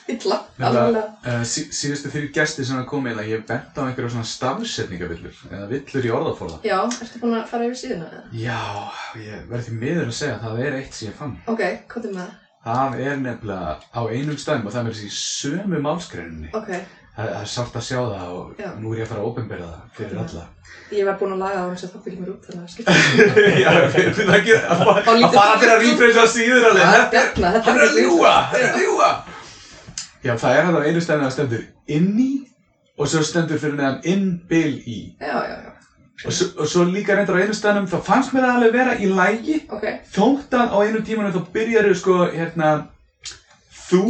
Speaker 3: illa,
Speaker 4: Þetta-
Speaker 3: alveg.
Speaker 4: Uh, sí, síðustu fyrir gesti sem það kom eiginlega, ég bent á einhverja svona stafsetningavillur eða villur í orðaforða.
Speaker 3: Já, ertu búin að fara yfir síðuna? eða?
Speaker 4: Já, ég verði því miður að segja að það er eitt sem ég fann.
Speaker 3: Ok, hvað er með það?
Speaker 4: Það er nefnilega á einum stæðum og það er með þessi sömu málskreininni.
Speaker 3: Ok,
Speaker 4: Það það er sárt að sjá það og
Speaker 3: Já.
Speaker 4: nú er ég að fara að opinbera það fyrir
Speaker 3: Já.
Speaker 4: alla.
Speaker 3: ég var búin að laga það án þess að það byrjum mér út þannig að skipta. um-
Speaker 4: Já, við erum að gera að
Speaker 3: Þá lítur
Speaker 4: að fara
Speaker 3: það
Speaker 4: fyrir að
Speaker 3: út.
Speaker 4: rýfreysa síður alveg.
Speaker 3: Það er
Speaker 4: Þetta-
Speaker 3: bjarna, Ah, hérna, þetta
Speaker 4: Hann er að
Speaker 3: ekki-
Speaker 4: ljúa, hann er að ljúa. Já, það er hann á einu stæðinu að stendur inn í og svo stendur fyrir neðan inn bil í.
Speaker 3: Já, já, já,
Speaker 4: Og svo, og svo líka reyndar á einu stæðnum þá fannst mér það alveg vera í lægi
Speaker 3: ok,
Speaker 4: þóttan á einu tímanum þá byrjar þau sko hérna þú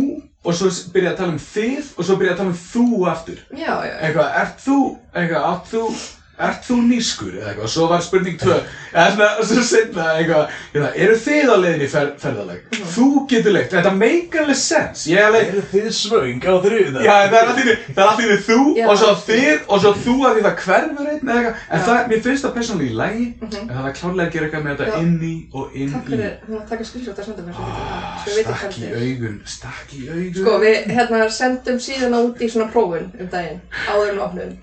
Speaker 4: og svo s- byrja að tala um þið og svo byrja að tala um þú aftur
Speaker 3: já, já, já.
Speaker 4: eitthvað, ert þú, eitthvað, átt þú ert þú nýskur eða eitthvað og svo var spurning 2 eða svona, og svo setna eitthvað hérna, eru þið á leiðinni í fer, ferðaleg þú getur leikt, þetta make alveg sense ég er alveg,
Speaker 5: Eru þið svöng á þriðuna?
Speaker 4: Já, en það er allir, það er allir þú
Speaker 3: Já.
Speaker 4: og svo þið og svo þú að því það hverfur einn eða eitthvað En það, mér finnst það persónulega í lagi En það er klárlega að gera eitthvað með
Speaker 3: Já.
Speaker 4: þetta inn í og inn
Speaker 3: Mhm. Takk
Speaker 4: í
Speaker 3: fyrir, hún að taka skilsjóta að senda mér svo ég geti lagað,
Speaker 4: Ah,
Speaker 3: svo ég veit ekki
Speaker 4: Stakk í
Speaker 3: hvernig þetta er.
Speaker 4: augun, stakk í augun
Speaker 3: Sko, við hérna sendum síðan út í svona prófun um daginn, áður en opnum.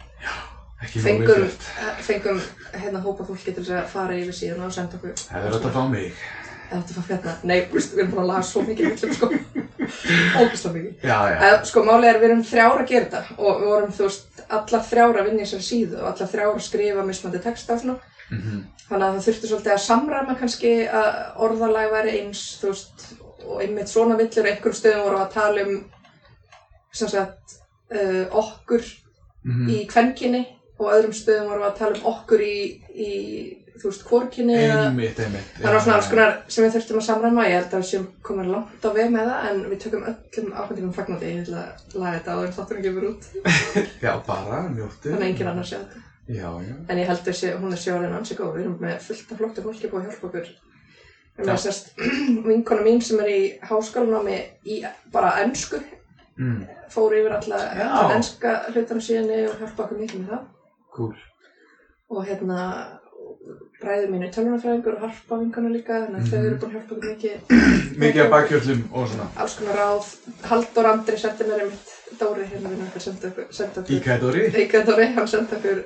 Speaker 4: Ekki málið
Speaker 3: Fengum,
Speaker 4: gert
Speaker 3: eh, fengum hérna hópa fólki til þess að fara yfir síðan og senda okkur.
Speaker 4: Það er alltaf að fá mig
Speaker 3: Eða þetta var hérna, nei, víst, við erum bara að laga svo mikið villum, sko. Ógislega mikið.
Speaker 4: Já, já,
Speaker 3: Að, sko, málið er við erum þrjára að gera þetta og við vorum, þú veist, alla þrjára að vinna í þessari síðu og alla þrjára að skrifa mismandi texta og svona.
Speaker 4: Mhm.
Speaker 3: Þannig að það þurfti svolítið að samræma kannski að orðalag væri eins, þú veist, og einmitt svona villur á einhverjum stöðum voru að tala um, sem sagt, uh, okkur
Speaker 4: Mhm.
Speaker 3: í kvenkinni og öðrum stöðum voru að tala um okkur í, í þú veist, kvorkinni eða...
Speaker 4: einmitt, einmitt
Speaker 3: Það var svona
Speaker 4: Já,
Speaker 3: alls konar sem við þurftum að samræma, ég held að við séum komin langt á veg með það en við tökum öllum ákvæmdingum fagnandi, ég ætla að laga þetta áður en þátturinn gefur út,
Speaker 4: Já, bara, njóttu
Speaker 3: þannig að enginn annar sé þetta.
Speaker 4: Já, já
Speaker 3: En ég held að sé, hún er sjóðarinn ansi góð, við erum með fullt af flóttu fólki búið að hjálpa okkur. Við erum
Speaker 4: Já.
Speaker 3: að sérst vinkona mín sem er í háskólanámi í bara ennsku,
Speaker 4: Mm,
Speaker 3: fór yfir alla,
Speaker 4: Já.
Speaker 3: alla ennska hlutanum síðanni og hjálpa okkur mikið með það.
Speaker 4: Cool
Speaker 3: og hérna bræður mínu tölvunarfræðingur og harpa vinkana líka þannig að þau eru búin að hjálpa okkur mikið
Speaker 4: Mikið að bakjöllum og svona
Speaker 3: alls konar ráð Halldór Andri sendi mér einmitt Dóri hérna við okkar sendi okkur sendi okkur
Speaker 4: Íkædóri
Speaker 3: Íka Dóri hann sendi okkur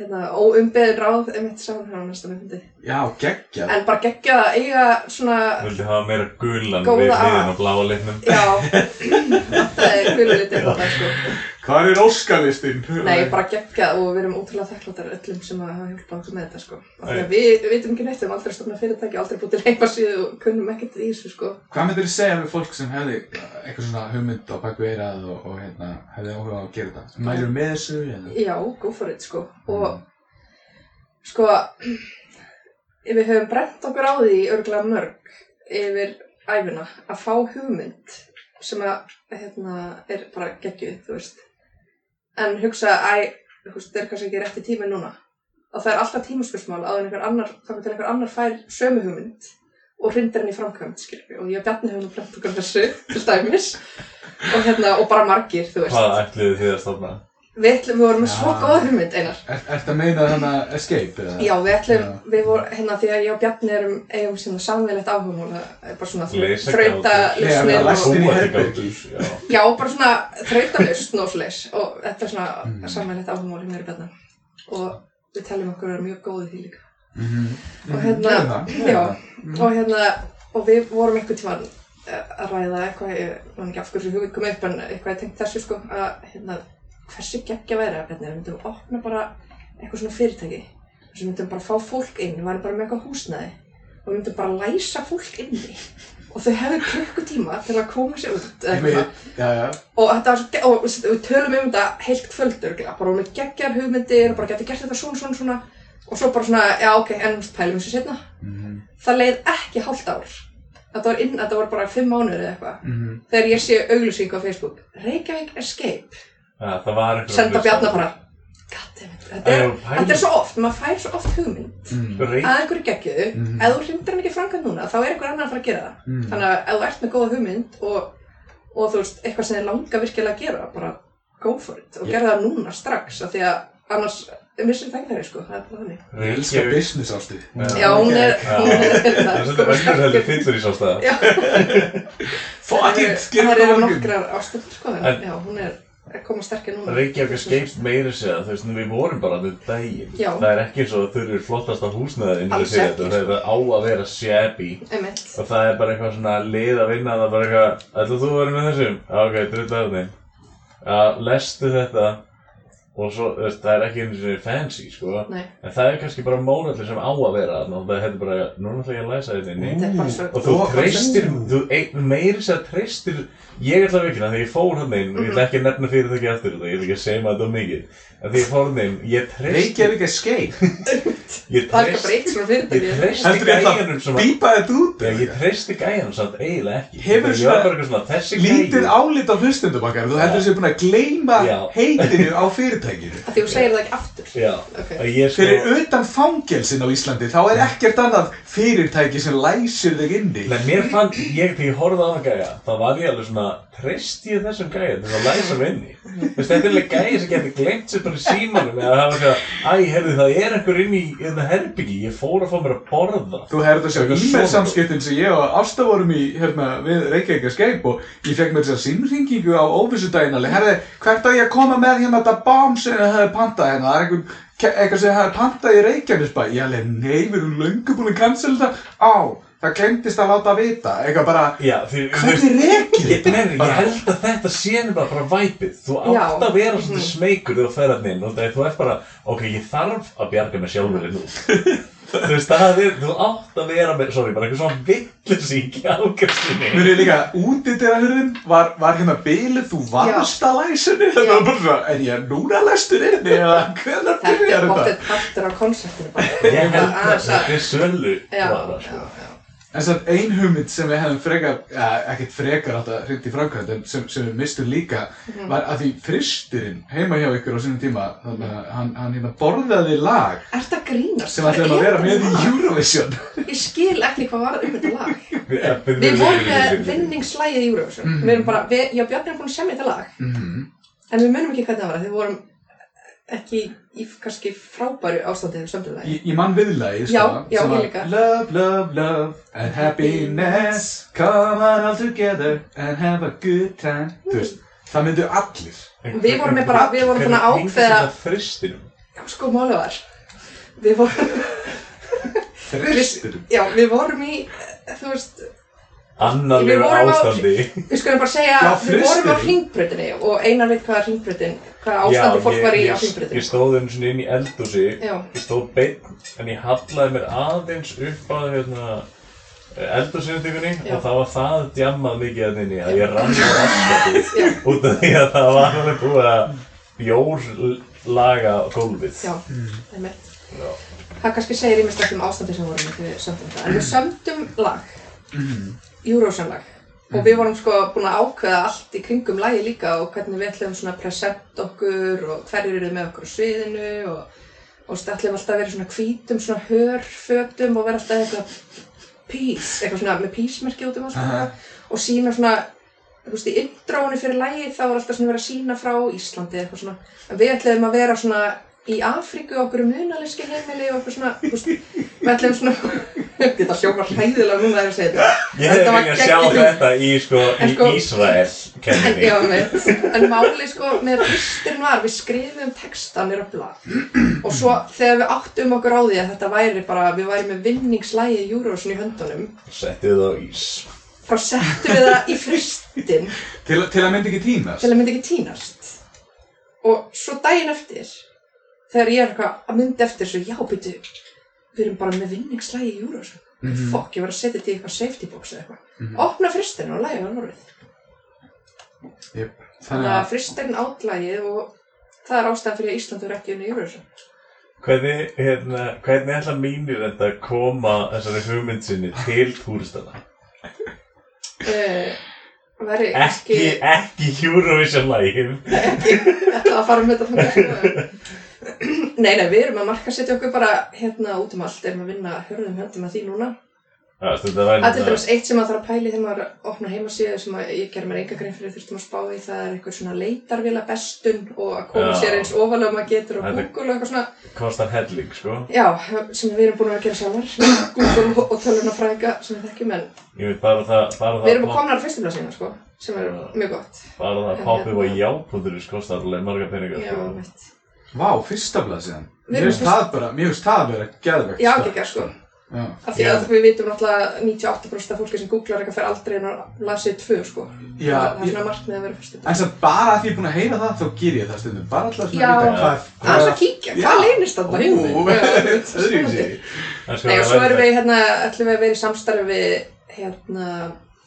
Speaker 3: hérna óumbeðin ráð einmitt sá hann á næsta myndi
Speaker 4: Já, geggjað
Speaker 3: en bara geggja að eiga svona
Speaker 5: Vildi hafa meira gulan
Speaker 3: Góða
Speaker 5: við
Speaker 3: að.
Speaker 5: hliðin á bláa litnum?
Speaker 3: já þetta er kvölu litið þetta sko
Speaker 4: Hvað er óskalistinn?
Speaker 3: Nei, bara geggjað og við erum ótrúlega þakkláttar öllum sem að hafa hjálpað okkur með þetta sko. Af því að Við við vitum ekki neitt, við erum aldrei stofnað fyrirtæki, aldrei búið til heimasíðu og kunnum ekkert í þessu sko.
Speaker 4: Hvað myndir þið segja við fólk sem hefði eitthvað svona hugmynd á baku eirað og, og hérna, hefði áhuga á að gera þetta? Mælur með þessu? Eða?
Speaker 3: Já, go for it sko. Og sko, við höfum brent okkur á því örgulega mörg yfir æfina að fá hugmynd sem að hérna, er bara geggjuð, þú veist. En hugsa að, æ, þú veist, það er kannski ekki rétti tími núna. Og það er alltaf tímaskursmál áður en einhver annar, þannig til einhver annar fær sömu hugmynd og hrindir henni í framkvæmd, skilfi. Og ég og Bjarni hefum nú brent okkur á þessu, til dæmis. Og hérna, og bara margir, þú veist.
Speaker 5: Hvað ætluðu þið að stofna?
Speaker 3: Við, ætlum, við vorum með svo
Speaker 4: Já.
Speaker 3: góða hugmynd, Einar.
Speaker 4: Er, ertu að meina þannig að escape? Eða?
Speaker 3: Já, við ætlum,
Speaker 4: Já.
Speaker 3: við vorum, hérna, því að ég og Bjarni erum, eigum svona samvegilegt áhugum og það er bara svona
Speaker 5: Leysa
Speaker 3: þrauta
Speaker 5: gátur.
Speaker 4: Nei, við
Speaker 3: lausnir og,
Speaker 4: erum læstir í
Speaker 5: Búa til
Speaker 4: herbergi.
Speaker 5: gátur, já.
Speaker 3: já, bara svona þrauta lausn og svoleiðis og þetta er svona
Speaker 4: Mm.
Speaker 3: mm. samvegilegt áhugum og mér og Bjarni og við teljum okkur að vera mjög góðið því líka
Speaker 4: Mhm.
Speaker 3: og hérna,
Speaker 4: Gerðu það, gerðu
Speaker 3: já,
Speaker 4: það.
Speaker 3: og hérna, og við vorum einhvern tímann eh, að ræða eitthvað, ég man ekki af hverju hugið kom upp en eitthvað ég tengt þessu sko að hérna, hversu geggja væri að Bjarni, við myndum opna bara eitthvað svona fyrirtæki þess við myndum bara fá fólk inn, við varum bara með eitthvað húsnæði og við myndum bara læsa fólk inni og þau hefðu klukkutíma til að koma sér út eða eitthvað
Speaker 4: Einmitt, já, já.
Speaker 3: og þetta var svo, ge- og við tölum um þetta heilt kvöld örgulega, bara með geggjar hugmyndir og bara getur gert þetta svona, svona, svona og svo bara svona, já ok, en pælum þessu setna
Speaker 4: Mhm,
Speaker 3: það leið ekki hálft ár þetta var inn, þetta var bara fimm mánuður eða eitthvað
Speaker 4: mhm.
Speaker 3: þegar ég sé auglýsingu á Facebook Reykjavík Escape,
Speaker 5: Ja, það var einhver
Speaker 3: senda Bjarna bara goddammit, þetta er,
Speaker 5: Æ,
Speaker 3: þetta er svo oft maður fær svo oft hugmynd
Speaker 2: Mhm.
Speaker 4: Mm,
Speaker 5: Reyk
Speaker 3: að einhverju geggjuðu,
Speaker 4: Mhm.
Speaker 3: ef þú hrindir hann ekki framkvæmt núna þá er einhver annar að fara að gera það
Speaker 4: mm.
Speaker 3: Þannig að ef þú ert með góða hugmynd og, og þú veist, eitthvað sem þið langar virkilega að gera, bara go for it og
Speaker 4: Ég-
Speaker 3: yeah. gera það núna strax, af því að annars missir það ekki þeirri, sko, það er bara þannig.
Speaker 4: Ég elska
Speaker 5: Reykjavík.
Speaker 4: business ástu
Speaker 3: Já, hún er,
Speaker 5: Það er
Speaker 3: hún er,
Speaker 5: svolítið önnur heldur fyllur í svo staða.
Speaker 3: Já,
Speaker 4: Fuck it,
Speaker 3: það
Speaker 4: gerum
Speaker 3: eru
Speaker 4: þetta á morgun
Speaker 3: nokkrar ástöður, sko, en
Speaker 5: En-
Speaker 3: já, hún er að koma sterkir núna.
Speaker 2: Reykjavík er skeipt meira segja, þú veist, við vorum bara þetta daginn.
Speaker 3: Já.
Speaker 2: Það er ekki eins og að þau eru flottasta húsnæðin
Speaker 3: Alls
Speaker 2: segja
Speaker 3: ekki, sko.
Speaker 2: þetta, það er á að vera shabby.
Speaker 3: Einmitt.
Speaker 2: Og það er bara eitthvað svona lið að vinna, það er bara eitthvað, ætla þú að vera með þessum? Já, ok, drulla þarna. inn. Já, lestu þetta. Og svo, þú veist, það er ekki einu sinni fancy, sko.
Speaker 3: Nei,
Speaker 2: En það er kannski bara mórallir sem á að vera þarna og það hefði bara, núna ætla ég að læsa þetta inni
Speaker 3: þetta er bara svo...
Speaker 2: og þú
Speaker 4: Ó,
Speaker 2: treystir, þú ein- meiri sér treystir ég ætla að vikina, þegar ég fór hann inn og ég ætla ekki að nefna fyrir það ekki aftur það, ég ætla ekki að segja maður þetta of mikið en þegar ég fór hann inn, ég treysti
Speaker 4: Reykjavík er skeið
Speaker 2: ég
Speaker 3: Það er ekki að
Speaker 2: treysti,
Speaker 3: breyta
Speaker 2: ég
Speaker 3: svona fyrirtæki.
Speaker 2: treysti
Speaker 4: Heldur ég ætla
Speaker 2: gæjanum sem að
Speaker 4: Býpa þetta út
Speaker 2: Já, ég treysti gæjanum samt eiginlega ekki
Speaker 4: Hefur
Speaker 2: Ég
Speaker 4: svona
Speaker 2: var bara eitthvað svona, þessi
Speaker 4: Lítið
Speaker 2: gæjan
Speaker 4: álit á hlustendum okkar Þú heldur þessi búin að gleyma
Speaker 2: Já.
Speaker 4: heitinu á fyrirtækinu
Speaker 3: Af Því þú segir það ekki aftur.
Speaker 2: Já,
Speaker 3: Ok.
Speaker 2: að ég
Speaker 4: Fyrir
Speaker 2: sko
Speaker 4: utan fangelsin á Íslandi þá er ekkert annað fyrirtæki sem læsir þig inni
Speaker 2: Nei, mér fann, ég, þegar ég horfði á það gæja, þá var ég alveg svona, treysti ég þessum gæja til að læsa mig inni. Þú veist, þetta er alveg gæja sem getur glemt sér bara í símanum eða hafa eitthvað, æ, heyrðu, það er einhver inni í þetta herbyggi, ég fór að fá mér að borða.
Speaker 4: Þú hefur þetta sjá
Speaker 2: Þetta er
Speaker 4: e-mail
Speaker 2: svona.
Speaker 4: samskiptin sem ég og Ásta vorum í hérna, við Reykjavík að Skype og ég fekk mér þess að sinnringingu á óvissudaginn alveg, herði, hvert á ég að koma með hérna þetta bám sem ég hefði pantað hérna, það er einhver, ke- eitthvað sem ég hefði pantað í Reykjavíksbæ, ég alveg, nei, við erum löngu búin að cancel það, á, það glemtist að láta vita, eitthvað bara,
Speaker 2: Já, því,
Speaker 4: hvernig rekir
Speaker 2: Ég,
Speaker 4: þetta?
Speaker 2: nei, ég held að þetta sé bara bara væpið, þú átt
Speaker 3: Já.
Speaker 2: að vera svona smeykur þegar þú fer hann inn og það er- þú ert bara, ok, ég þarf að bjarga mig sjálfur nú Þú veist, það er, þú átt að vera með, sorry, bara eitthvað svona villis í ákjöfstinni
Speaker 4: Mér er líka, útidyrahurðin var, var hérna biluð, þú varst að læsunni, þetta var bara svona, en ég er núna læstur inni, eða hvernig
Speaker 3: Þetta
Speaker 4: byrjar
Speaker 3: er
Speaker 4: þetta?
Speaker 3: bóttið partur af konseptinu bara.
Speaker 2: Ég held að
Speaker 3: Aðeins að-
Speaker 2: þetta er sölu
Speaker 3: Já,
Speaker 2: bara,
Speaker 3: já,
Speaker 2: sko.
Speaker 3: já.
Speaker 4: En samt ein hugmynd sem við hefðum frekar, ja, ekkert frekar alltaf hreint í framkvæmt, en sem, sem við mistum líka,
Speaker 3: Mm.
Speaker 4: var að því fristurinn heima hjá ykkur á sinni tíma, þannig að hann, hann hérna borðaði lag
Speaker 3: Er þetta Mhm. grínast?
Speaker 4: sem ætlaði að
Speaker 3: Er
Speaker 4: vera með
Speaker 3: þetta
Speaker 4: í
Speaker 3: lag?
Speaker 4: Eurovision.
Speaker 3: Ég skil ekki hvað var um þetta lag.
Speaker 2: Ja, byrju,
Speaker 3: Við
Speaker 2: byrju,
Speaker 3: vorum
Speaker 2: byrju,
Speaker 3: með
Speaker 2: byrju, byrju.
Speaker 3: vinningslægið í Eurovision. Við erum bara, við, já Bjarni er búin að semja þetta lag.
Speaker 4: Mhm.
Speaker 3: En við munum ekki hvernig það var. Við vorum ekki í kannski frábæru ástandið um sömdulag.
Speaker 4: Í, í mann viðlagi, sko,
Speaker 3: Já, já, ég
Speaker 4: sem var
Speaker 3: líka.
Speaker 4: Love, love, love and happiness Come on all together and have a good time Þú veist, það myndu allir
Speaker 3: Við vorum með bara- við vorum búin að
Speaker 2: Hvernig tengist
Speaker 3: ákveða-
Speaker 2: þetta fristinum?
Speaker 3: Já, sko, málið var. Við vorum,
Speaker 4: Fristurum
Speaker 3: já, við vorum í, eh, þú veist,
Speaker 2: Annarlegu
Speaker 3: Við vorum á-
Speaker 2: ástandi
Speaker 3: við skulum bara segja,
Speaker 4: Já,
Speaker 3: við vorum á
Speaker 4: frystirinn.
Speaker 3: hringbröðinni og einar veit hvaða hringbröðin, hvaða
Speaker 2: Já,
Speaker 3: ástandi fólk
Speaker 2: ég-
Speaker 3: var í
Speaker 2: ég-
Speaker 3: á hringbröðinni.
Speaker 2: Ég stóð einu sinni inn í eldhúsi
Speaker 3: Já.
Speaker 2: Ég stóð beinn En ég hallaði mér aðeins upp að hérna eldhúsinnitíkunni
Speaker 3: Já.
Speaker 2: og það var það djammað mikið að inni að ég rann á raskatið
Speaker 3: Já.
Speaker 2: út af því að það var alveg búið að bjórlaga gólfið
Speaker 3: Já, einmitt. Það kannski segir ég mest ekki um ástandi sem vorum í þegar við sömdum það. En við sömdum lag,
Speaker 2: Mhm.
Speaker 3: Eurovision lag. Og við vorum sko búin að ákveða allt í kringum lagi líka og hvernig við ætlum svona að present okkur og hverjir eru með okkur á sviðinu og, og þetta ætlum alltaf að vera í svona hvítum, svona hörfötum og vera alltaf eitthvað peace, eitthvað svona með peace-merki út um allt uh
Speaker 4: Aha.
Speaker 3: og sína svona, þú veist, í intróinu fyrir lagið þá var alltaf svona verið að sína frá Íslandi eitthvað svona, en við ætlum að vera svona í Afríku og okkur munaleski heimili og okkur svona, þú veist, við ætlum svona, þetta hljómar hræðilega núna þegar ég segi þetta.
Speaker 2: Ég hefði
Speaker 3: Þetta var
Speaker 2: viljað sjá
Speaker 3: geggjum-
Speaker 2: þetta í sko,
Speaker 3: En
Speaker 2: í
Speaker 3: sko-
Speaker 2: Ísrael
Speaker 3: En,
Speaker 2: kenninni
Speaker 3: já, mitt. en máli sko með listin var við skrifum textanir á blað og svo þegar við áttum okkur á því að þetta væri bara, við væri með vinningslægi Eurovision í höndunum
Speaker 2: Settið það á ís
Speaker 3: þá settum við það í fristin
Speaker 4: Til, til að myndi ekki týnast
Speaker 3: til að myndi ekki týnast og svo daginn eftir þegar ég er eitthvað að myndi eftir svo já, byrju, við erum bara með vinningslægi Eurovision
Speaker 4: Mhm.
Speaker 3: fokk, ég var að setja þetta í eitthvað safety box eða eitthvað opna fristin og lægi á norðið
Speaker 4: Jep. Þannig
Speaker 3: Þannig að
Speaker 4: að
Speaker 3: fristirinn átlægið og það er ástæðan fyrir að Ísland er ekki unni Eurovision.
Speaker 2: Hvernig, hérna, hvernig ætla mínir þetta að koma þessari hugmynd sinni til túristana?
Speaker 3: Uh, veri
Speaker 2: ekki,
Speaker 3: ekki,
Speaker 2: ekki Eurovision lægum
Speaker 3: ekki að fara með þetta þannig. nei, nei, við erum að marka setja okkur bara hérna út um allt, erum að vinna hörðum höndum að því núna.
Speaker 2: Þetta væri
Speaker 3: Það er til
Speaker 2: þetta
Speaker 3: dæmis eitt sem maður þarf að pæli þegar maður opnar heimasíðu sem að ég ger mér enga grein fyrir þurftum að spá í, það er einhver svona leitarvila bestun og að koma
Speaker 2: Já.
Speaker 3: sér eins ofalega maður getur og
Speaker 2: Þetta-
Speaker 3: Google og eitthvað svona.
Speaker 2: kostar helling sko
Speaker 3: Já, sem við erum búin að gera sjálfar, Google og tölunafræðinga sem við þekkjum en
Speaker 2: Ég veit bara það bara
Speaker 3: Við erum
Speaker 2: það
Speaker 3: komnar á fyrstuplasina, sko. sem er mjög gott.
Speaker 2: Bara það að poppið var jápunduris kostar alveg marga peningar
Speaker 3: hérna. Já,
Speaker 2: sko.
Speaker 3: mitt.
Speaker 4: Vá, fyrsta blaðsíðan.
Speaker 3: Við
Speaker 4: Mér
Speaker 3: erum
Speaker 4: finnst það bara, mér finnst það bara geðvegt.
Speaker 3: Já,
Speaker 4: stökk.
Speaker 3: ekki sko.
Speaker 4: Já.
Speaker 3: Af því að við vitum náttúrulega að 98% af fólki sem googlar eitthvað fer aldrei inn á lasið 2 sko. það,
Speaker 4: Já,
Speaker 3: það er
Speaker 4: ég-
Speaker 3: svona markmið að vera fyrstu.
Speaker 4: En sem bara að því ég er búin að heyra það, þá ger ég það stundum. Bara alltaf svona
Speaker 3: Já.
Speaker 4: að vita hvað...
Speaker 3: Það er svo að kíkja, hvað leynist alltaf
Speaker 4: Ú, öðruvísi.
Speaker 2: En sko,
Speaker 3: Nei, og
Speaker 2: það
Speaker 3: svo
Speaker 2: væri-
Speaker 3: erum við, hérna, ætlum við að vera í samstarfi við, hérna,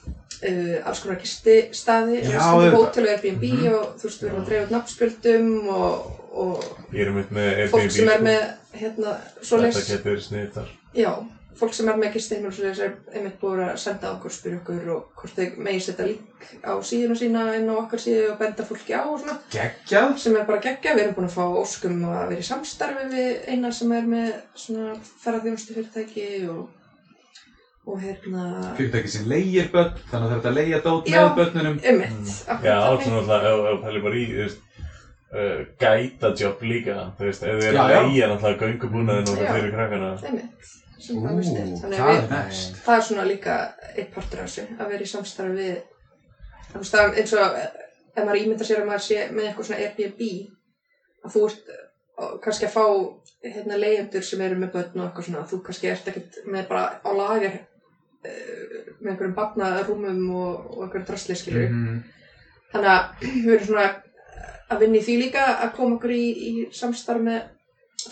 Speaker 3: uh, alls konar gististaði,
Speaker 4: Já,
Speaker 3: restandi
Speaker 4: auðvitað. Mhm.
Speaker 3: hótel og Airbnb og þú veist, við erum að dreifa út nafnspjöldum og, og
Speaker 2: Ég er mitt með Airbnb
Speaker 3: fólk sem er
Speaker 2: sko.
Speaker 3: með, hérna,
Speaker 2: Þetta
Speaker 3: svoleiðs,
Speaker 2: getur verið sniðt þar
Speaker 3: já, fólk sem er með gistiheimil og svoleiðs er einmitt búið að senda okkur, spyrja okkur og hvort þau megin setja lík á síðuna sína inn á okkar síðu og benda fólki á og svona
Speaker 4: Geggjað.
Speaker 3: sem er bara geggja, við erum búin að fá óskum að vera í samstarfi við eina sem er með svona ferðarþjónustu fyrirtæki og, og hérna
Speaker 4: Fyrirtæki sem leigir börn, þannig að það er hægt að leigja dót
Speaker 3: Já.
Speaker 4: með börnunum.
Speaker 2: Mm.
Speaker 3: ummitt
Speaker 2: Já, svona alltaf, ef ef pælir bara í, þú veist Uh, gæta jobb líka, þú veist, ef þið eru
Speaker 4: Já,
Speaker 2: að
Speaker 4: já.
Speaker 2: leigja náttúrulega göngubúnaðin og
Speaker 3: Já.
Speaker 2: það fyrir krakkana.
Speaker 3: ummitt sem
Speaker 4: Ú,
Speaker 3: það veist er þannig
Speaker 4: það
Speaker 3: að
Speaker 4: er
Speaker 3: við,
Speaker 4: næst.
Speaker 3: það er svona líka eitt partur af þessu að vera í samstarfi við þú veist það er eins og eh, ef maður ímyndar sér að maður sé með eitthvað svona Airbnb að þú ert og kannski að fá hérna leigjendur sem eru með börn og eitthvað svona þú kannski ert ekkert með bara á lager eh, með einhverjum barnarúmum og, og einhverjum drastleiskilur mm
Speaker 4: Mhm.
Speaker 3: þannig að við erum svona eh, að vinna í því líka að koma okkur í, í samstarf með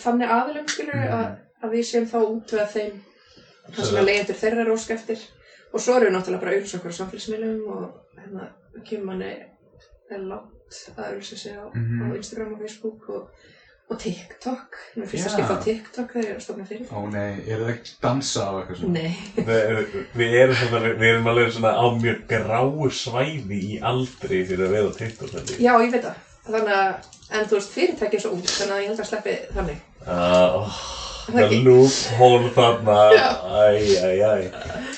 Speaker 3: þannig aðilum skilur
Speaker 4: Mhm.
Speaker 3: að, að við séum þá út við þeim það sem að leiðendur þeirra er ósk eftir og svo erum við náttúrulega bara að auðvitað okkur á samfélagsmiðlum og hérna kemur manni er langt að auðvitað sig á,
Speaker 4: Mhm.
Speaker 3: á Instagram og Facebook og, og TikTok mér finnst
Speaker 4: Já.
Speaker 3: að skipta á TikTok þegar ég er að stofna fyrir
Speaker 4: Ó nei, eru það ekki að dansa á eitthvað svona?
Speaker 3: Nei,
Speaker 2: Við við erum svona, við erum alveg svona á mjög gráu svæði í aldri fyrir að vera á TikTok held ég.
Speaker 3: já ég veit það þannig að, en þú veist fyrirtæki er svo ung þannig að ég held að sleppi þannig
Speaker 2: Ah, oh,
Speaker 3: Það er
Speaker 2: Það
Speaker 3: ekki-
Speaker 2: loophole þarna,
Speaker 3: Já.
Speaker 2: æj, æj, æj.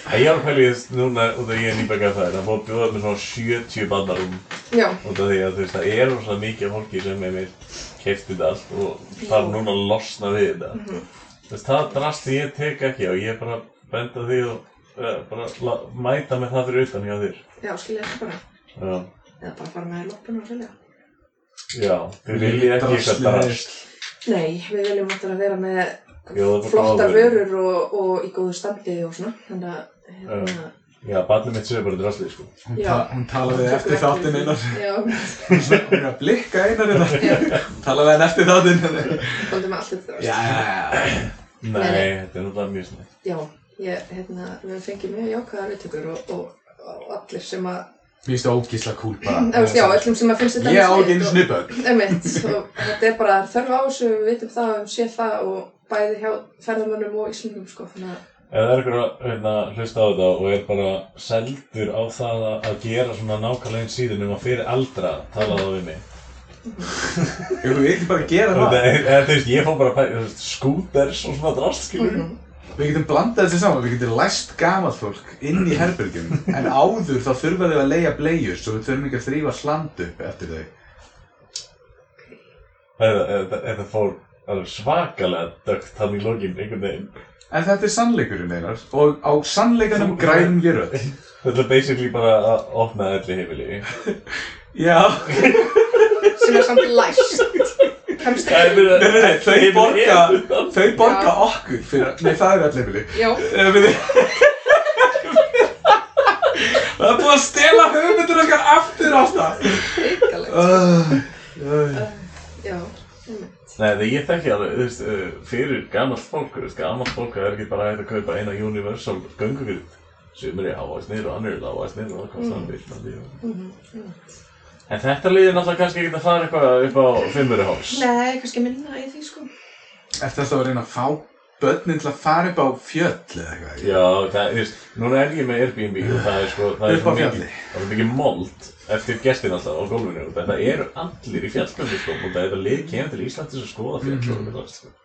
Speaker 2: Það ég var að pæli þess núna út af því að ég er nýbækað það, það fór bjóðað með svona 70 bannarum
Speaker 3: Já,
Speaker 2: út af því að þú veist, það er svona mikið af fólki sem er mér kefti þetta allt og þarf núna að losna við þetta.
Speaker 3: Mhm.
Speaker 2: Þú veist, það drasti ég tek ekki og ég bara benda því og uh, bara la, mæta með það fyrir utan hjá þér.
Speaker 3: já skilja þetta bara
Speaker 2: Já.
Speaker 3: eða bara fara með loppuna og selja
Speaker 2: Já, þið viljið ekki eitthvað
Speaker 4: Drasli.
Speaker 2: drast.
Speaker 3: Nei, við viljum náttúrulega vera með
Speaker 2: Já, það er bara
Speaker 3: flottar
Speaker 2: góðar vörur.
Speaker 3: vörur og, og í góðu standi og svona þannig að hérna,
Speaker 2: Já, barnið mitt segir bara drasli, sko.
Speaker 4: Hún,
Speaker 3: Já.
Speaker 4: ta hún talaði eftir
Speaker 3: tökum
Speaker 4: þáttinn
Speaker 3: ekki við
Speaker 4: einar.
Speaker 3: því. Já,
Speaker 4: Hún er að blikka einar einar. Talaði henn eftir þáttinn.
Speaker 3: komðum allir það
Speaker 4: Já, já, já.
Speaker 2: Nei,
Speaker 3: Nei, nei.
Speaker 2: þetta er náttúrulega mjög snett.
Speaker 3: Já, ég, hérna, við fengið mjög jákvæðar viðtökur og, og, og allir sem að
Speaker 4: Mér finnst það ógísla kúl bara.
Speaker 3: eða, þú veist, já, öllum sem að finnst þetta
Speaker 4: Ég á
Speaker 3: alveg
Speaker 4: ekki einu
Speaker 3: sniðugt
Speaker 4: snubba.
Speaker 3: og- Einmitt, og þetta er bara þörf á þessu, við vitum það, við sé það og bæði hjá ferðamönnum og íslendum sko, þannig að
Speaker 2: Ef það er ykkur að hérna, hlusta á þetta og er bara seldur á það að- að gera svona nákvæmlegin síðan um að fyrir aldra tala það við mig.
Speaker 4: Ég vil ekki bara gera
Speaker 2: Þú
Speaker 4: það.
Speaker 2: veist, eða, þú veist, ég fór bara að pæla, þú veist, scooters og svona drast, skilur.
Speaker 3: Mhm.
Speaker 4: Við getum blandað þessu saman, við getum læst gamað fólk inn í herbergjum en áður þá þurfa þau að leia bleiur svo við þurfum ekki að þrýfa sland upp eftir þau
Speaker 2: Þetta- Þetta þetta fór alveg svakalega dögt hann í lokin, einhvern veginn.
Speaker 4: En þetta er sannleikurinn einar og á sannleikanum græðum við rödd
Speaker 2: Þetta er basically bara að opna elli heimili.
Speaker 4: Já
Speaker 3: sem er samt læst kemst
Speaker 2: Það er
Speaker 3: ekki
Speaker 2: verið
Speaker 4: Nei, nei, nei, þau borga, þau borga
Speaker 3: Já.
Speaker 4: okkur fyrir, nei það er allir vilji
Speaker 3: Já,
Speaker 4: Eh, við- Það er búið að stela hugmyndur okkar aftur á það
Speaker 3: hrikalegt
Speaker 4: uh,
Speaker 3: Já, einmitt.
Speaker 2: Nei, það ég þekki alveg, þú veist, uh, fyrir gamalt fólk, þú veist, gamalt fólk það er ekki bara hægt að kaupa eina Universal göngugrind sem er í hávæsnir og annar í lávæsnir og það kostar hann vilt mm.
Speaker 3: Mm-hmm.
Speaker 2: En þetta liðir náttúrulega kannski ekki að fara eitthvað upp á fimmuri háls
Speaker 3: Nei, kannski minna í því sko.
Speaker 4: Ertu alltaf að reyna að fá börnin til að fara upp á fjöll eða eitthvað
Speaker 2: Já, það, þú veist, núna er ég með Airbnb og það er sko, það er
Speaker 4: Upp á
Speaker 2: svo mikið,
Speaker 4: fjalli.
Speaker 2: það er mikið mold eftir gestin alltaf á gólfinu og þetta eru allir í sko. fjallgöndiskóm og þetta lið kemur til Ísland til þess að skoða
Speaker 4: Mhm.
Speaker 2: fjall og þetta, sko.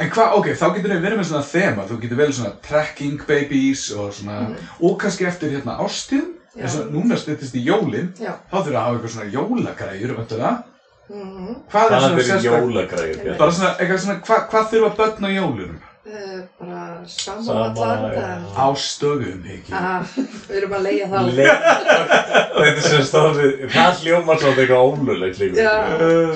Speaker 4: En hvað, ok, þá getur þau verið með svona þema, þú getur verið svona trekking babies og svona,
Speaker 2: Mhm.
Speaker 4: og kannski eftir hérna ástíðum,
Speaker 3: Já.
Speaker 4: eins og núna styttist í jólinn,
Speaker 3: Já.
Speaker 4: þá þurfum við að hafa eitthvað svona jólagræjur, veitu það?
Speaker 3: Mm -hmm.
Speaker 4: Hvað er
Speaker 2: Það
Speaker 4: svona
Speaker 2: er
Speaker 4: sérstak,
Speaker 2: jólagræður, Bjarni.
Speaker 4: bara svona, eitthvað svona, hva, hvað þurfa börn á jólunum?
Speaker 3: uh, bara saman
Speaker 2: Sama,
Speaker 3: allan
Speaker 2: já.
Speaker 4: Á stöðum,
Speaker 2: Ah.
Speaker 4: ekki?
Speaker 3: að við erum að leiða það
Speaker 2: Le og þetta sem stóðið, það hljómar svolítið eitthvað ólulegt líka.
Speaker 3: Já.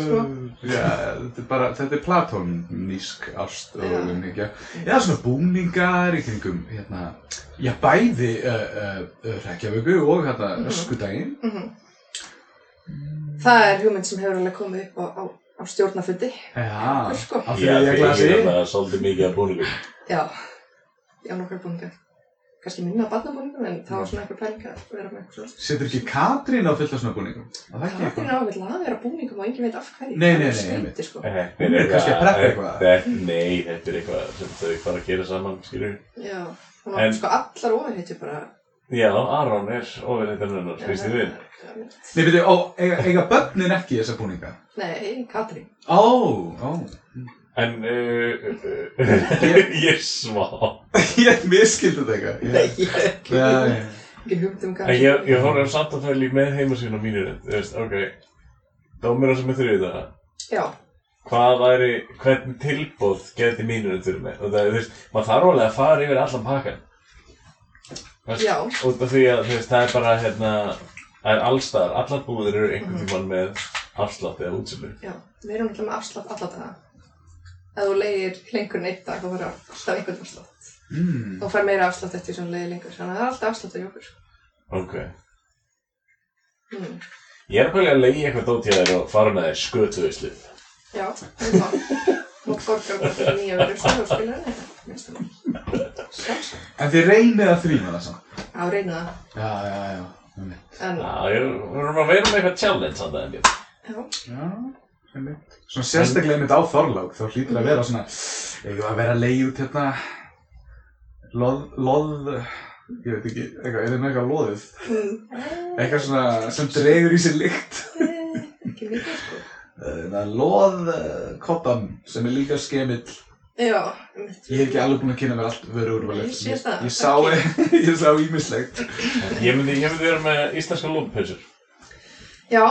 Speaker 3: sko.
Speaker 4: Já, þetta er bara, þetta er platónísk ást og umhyggja. Já, svona búningar í kringum, hérna, já, bæði uh, uh, uh, Reykjavíku og hérna
Speaker 3: Mhm.
Speaker 4: öskudaginn.
Speaker 3: Mhm. Það er hugmynd sem hefur alveg komið upp á, á, á stjórnafundi.
Speaker 4: Já,
Speaker 3: Sko.
Speaker 4: á
Speaker 2: Já,
Speaker 4: þriðja
Speaker 2: það
Speaker 4: glasi.
Speaker 2: er alveg svolítið mikið af búningum.
Speaker 3: Já, já nokkar búningar. Kannski minna barnabúningum en það var svona eitthvað pæling að vera með eitthvað svona.
Speaker 4: Setur ekki Katrín á fullt af svona búningum? Var Það ekki
Speaker 3: Katrín
Speaker 4: eitthvað.
Speaker 3: á að vilja að vera búningum og enginn veit af hverju.
Speaker 4: Nei, nei, nei,
Speaker 3: Það er
Speaker 4: einmitt.
Speaker 3: skrítið, sko.
Speaker 2: Þetta
Speaker 4: Hún er kannski að preppa eitthvað.
Speaker 2: þetta- Nei, þetta er eitthvað sem þau fara að gera saman, skilur.
Speaker 3: Já, það var
Speaker 2: En-
Speaker 3: sko allar ofurheitur bara.
Speaker 2: Já, Aron er ofið þetta hennar, finnst þið við?
Speaker 4: Nei, veitu, ó, eiga, eiga börnin ekki þessa búninga?
Speaker 3: Nei, Katrín.
Speaker 4: Ó, ó.
Speaker 2: En, uh,
Speaker 4: Ég-
Speaker 2: ég er svá.
Speaker 4: Ég miskildi þetta eitthvað. Nei,
Speaker 3: ég hef ekki,
Speaker 4: Já, já.
Speaker 3: ekki hugmynd um
Speaker 2: En
Speaker 3: Katrín.
Speaker 2: ég, ég fór að samt að það líka með heimasíðan á mínu rönd, þú veist, ok. Dómir á sem er þrjúið það.
Speaker 3: Já,
Speaker 2: Hvað væri, hvernig tilbóð geti mínu rönd fyrir mig? Og það, þú veist, maður þarf alveg að fara yfir allan pakkan. Þú veist,
Speaker 3: Já.
Speaker 2: Út af því að, þú veist, það er bara, hérna, það er allstaðar, allar búðir eru einhvern tímann með afslátt eða útsölu.
Speaker 3: já. Við erum alltaf með afslátt alla daga. Ef þú leiðir lengur en eitt dag, þá verður alltaf einhvern afslátt.
Speaker 4: Mm.
Speaker 3: Þú fær meira afslátt eftir sem þú leiðir lengur. Þannig að það er alltaf afslátt að jókur.
Speaker 2: Ok.
Speaker 3: Mm.
Speaker 2: Ég er bara að leiði eitthvað dót hjá þér og fara með þér skötuðislið.
Speaker 3: Já, það er það. Mótt borgar bara nýja verður stöðu og skilur henni. Minnst það. Sjálfsagt.
Speaker 4: En þið reynið að þrýma það samt.
Speaker 3: Já, reyna það.
Speaker 4: Já, já, já. einmitt.
Speaker 3: En,
Speaker 2: Já, ég vorum að vera með eitthvað challenge samt að ennig.
Speaker 3: já,
Speaker 4: Já, einmitt. Svona sérstaklega einmitt á Þorlák, þá hlýtur að vera svona, eitthvað að vera leið út hérna, loð, loð, ég veit ekki, eitthvað, er það með eitthvað loðið?
Speaker 3: Mm.
Speaker 4: Eitthvað svona sem dregur í sér lykt. Eh,
Speaker 3: eh, ekki mikið sko.
Speaker 4: Það loð uh, kottan sem er líka skemill.
Speaker 3: Já,
Speaker 4: Ég er ekki alveg búinn að kynna mér allt vöruúrvalið.
Speaker 3: Ég sé það.
Speaker 4: Ég sá, ég sá ímislegt.
Speaker 2: Ég myndi, ég myndi vera með íslenska lúmpilsur
Speaker 3: já,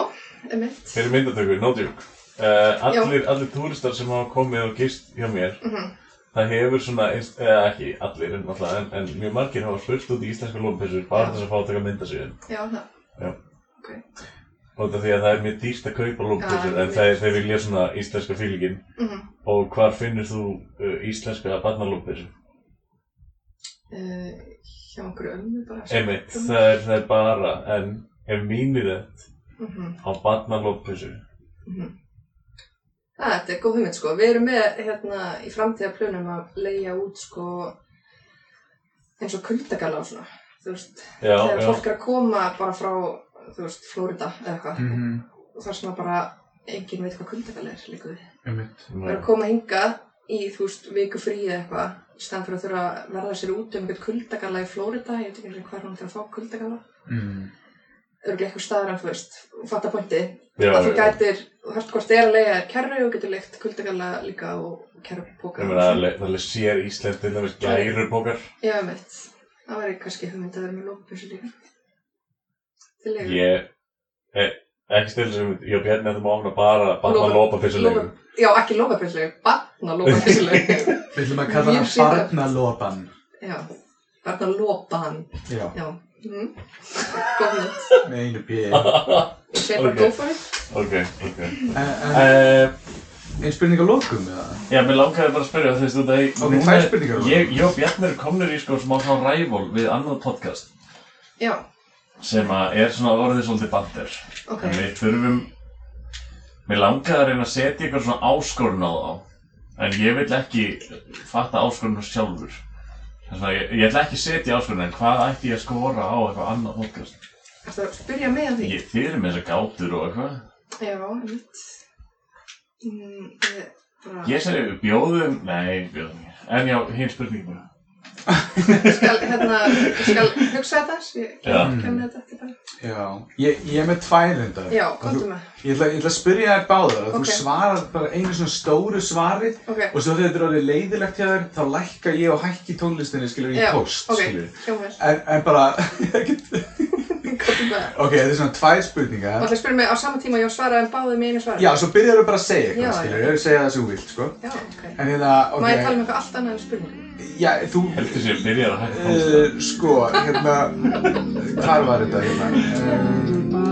Speaker 3: emitt.
Speaker 2: fyrir myndatökur, no joke. Uh, allir, allir túristar sem hafa komið og gist hjá mér,
Speaker 3: Mhm.
Speaker 2: það hefur svona, eins- eða ekki allir en alltaf, en, en mjög margir hafa spurt út í íslenska lúmpilsur bara
Speaker 3: Já.
Speaker 2: þess að fá að taka mynda síðan.
Speaker 3: Já, það.
Speaker 2: Og það því að það er mjög dýrt að kaupa lúmpilsur,
Speaker 3: Já,
Speaker 2: en það er þeir vilja svona íslenska fílgin.
Speaker 3: Mhm.
Speaker 2: Og hvar finnur þú uh, íslenska barnalúmpilsur?
Speaker 3: Eh, Hjá einhverju ömmu bara.
Speaker 2: Einmitt, það er, það er bara, en ef mínir þetta
Speaker 3: Mhm.
Speaker 2: á barnalúmpilsur,
Speaker 3: Ah, þetta er góð hugmynd sko. Við erum með hérna í framtíðarplunum að leia út sko eins og kuldagala og svona. Þú veist,
Speaker 2: já,
Speaker 3: þegar
Speaker 2: já,
Speaker 3: fólk er að koma bara frá, þú veist, Flórida eða eitthvað.
Speaker 4: Mhm,
Speaker 3: Og þar sem að bara enginn veit hvað kuldagala er líka við.
Speaker 4: einmitt.
Speaker 3: Það er
Speaker 2: já,
Speaker 3: að koma hingað í, þú veist, viku frí eða eitthvað. Í staðan fyrir að þurfa að verða sér út um eitthvað kuldagala í Flórida. Ég veit ekki alveg hvað hún til að fá kuldagala.
Speaker 4: Mm.
Speaker 3: Örglega eitthvað staðar en þú veist, fatta pointið.
Speaker 2: já,
Speaker 3: að þú
Speaker 2: já.
Speaker 3: gætir, þú hörst hvort þið er að leiða þér kerru og getur leikt kuldagalla líka og kerrupóka.
Speaker 2: Ég meina, það er alveg- það er alveg sér Ísland til dæmis gærupókar.
Speaker 3: Já, mitt. Það væri kannski hugmynd að vera með lókupjössu líka. Til leiðu.
Speaker 2: Ég, e, ekki stil sem, ég og Bjarni ættum að ofna bara barna
Speaker 3: Lópa-
Speaker 2: lópapilsulegum.
Speaker 3: Já, ekki lókupjössu líka, barna lókupjössu líka.
Speaker 4: Við ætlum að kalla
Speaker 3: Ég
Speaker 4: það
Speaker 3: sé það.
Speaker 4: barnalopan.
Speaker 3: Já, barna lópaðan.
Speaker 4: Já,
Speaker 3: Já, mm. góð mynd.
Speaker 4: með einu bíði.
Speaker 3: Ég sé bara
Speaker 2: Ok.
Speaker 3: go for it.
Speaker 2: Ok, ok.
Speaker 4: En
Speaker 2: Uh,
Speaker 4: einn spurning á lokum, eða?
Speaker 2: já, mér langaði bara að spyrja þú veist þú það,
Speaker 4: Ok, tvær spurningar á það.
Speaker 2: ég, ég og Bjarni eru komnir í sko smá þá rævól við annað podcast
Speaker 3: Já,
Speaker 2: sem að er svona orðið svolítið bandir.
Speaker 3: ok.
Speaker 6: Ok.
Speaker 2: En við þurfum, mér langaði að reyna að setja eitthvað svona áskorun á þá. En ég vil ekki fatta áskorun sjálfur. Þess að ég, ég ætla ekki að setja áskorun, en hvað ætti ég að skora á eitthvað annað podcast?
Speaker 3: Það að spyrja mig að því.
Speaker 6: Ég fyrir með þessar gátur og eitthvað.
Speaker 3: Já, mitt. Mm, ég bara...
Speaker 6: Ég segi bjóðum, nei, bjóðum ekki. En já, hinn spurningi bara.
Speaker 3: skal, hérna, skal hugsa þetta, ég
Speaker 2: Já.
Speaker 3: kem- kem með þetta tilbaka.
Speaker 4: Já, ég, ég er með tvær reyndar.
Speaker 3: Já,
Speaker 4: Og
Speaker 3: komdu
Speaker 4: þú-
Speaker 3: með.
Speaker 4: Ég ætla, ég ætla að spyrja þér báðar að
Speaker 3: Ok.
Speaker 4: þú svarar bara einu svona stóru svari
Speaker 3: Ok,
Speaker 4: og svo þegar þetta er orðið leiðilegt hjá þér þá lækka ég og hækki tónlistinni skilur í
Speaker 3: Já,
Speaker 4: post,
Speaker 3: ok,
Speaker 4: skilur.
Speaker 3: hljóma vel.
Speaker 4: En, en bara, ekkert,
Speaker 3: Komdu Bara-
Speaker 4: Ok, þetta er svona tvær spurningar
Speaker 3: Og það spyrir mig á sama tíma að ég á að svara en báðið með einu svari.
Speaker 4: Já, svo byrjarðu bara að segja eitthvað,
Speaker 3: Já,
Speaker 4: skilur við, segja það sem þú vilt, sko
Speaker 3: Já, ok.
Speaker 4: En hérna,
Speaker 3: Má ég tala um
Speaker 4: ok,
Speaker 3: eitthvað allt annað en spurningu?
Speaker 4: já, þú, Eh,
Speaker 2: Heldur sér byrjar að hægt hósta.
Speaker 4: uh, sko, hérna, hvar var þetta, hérna? Um,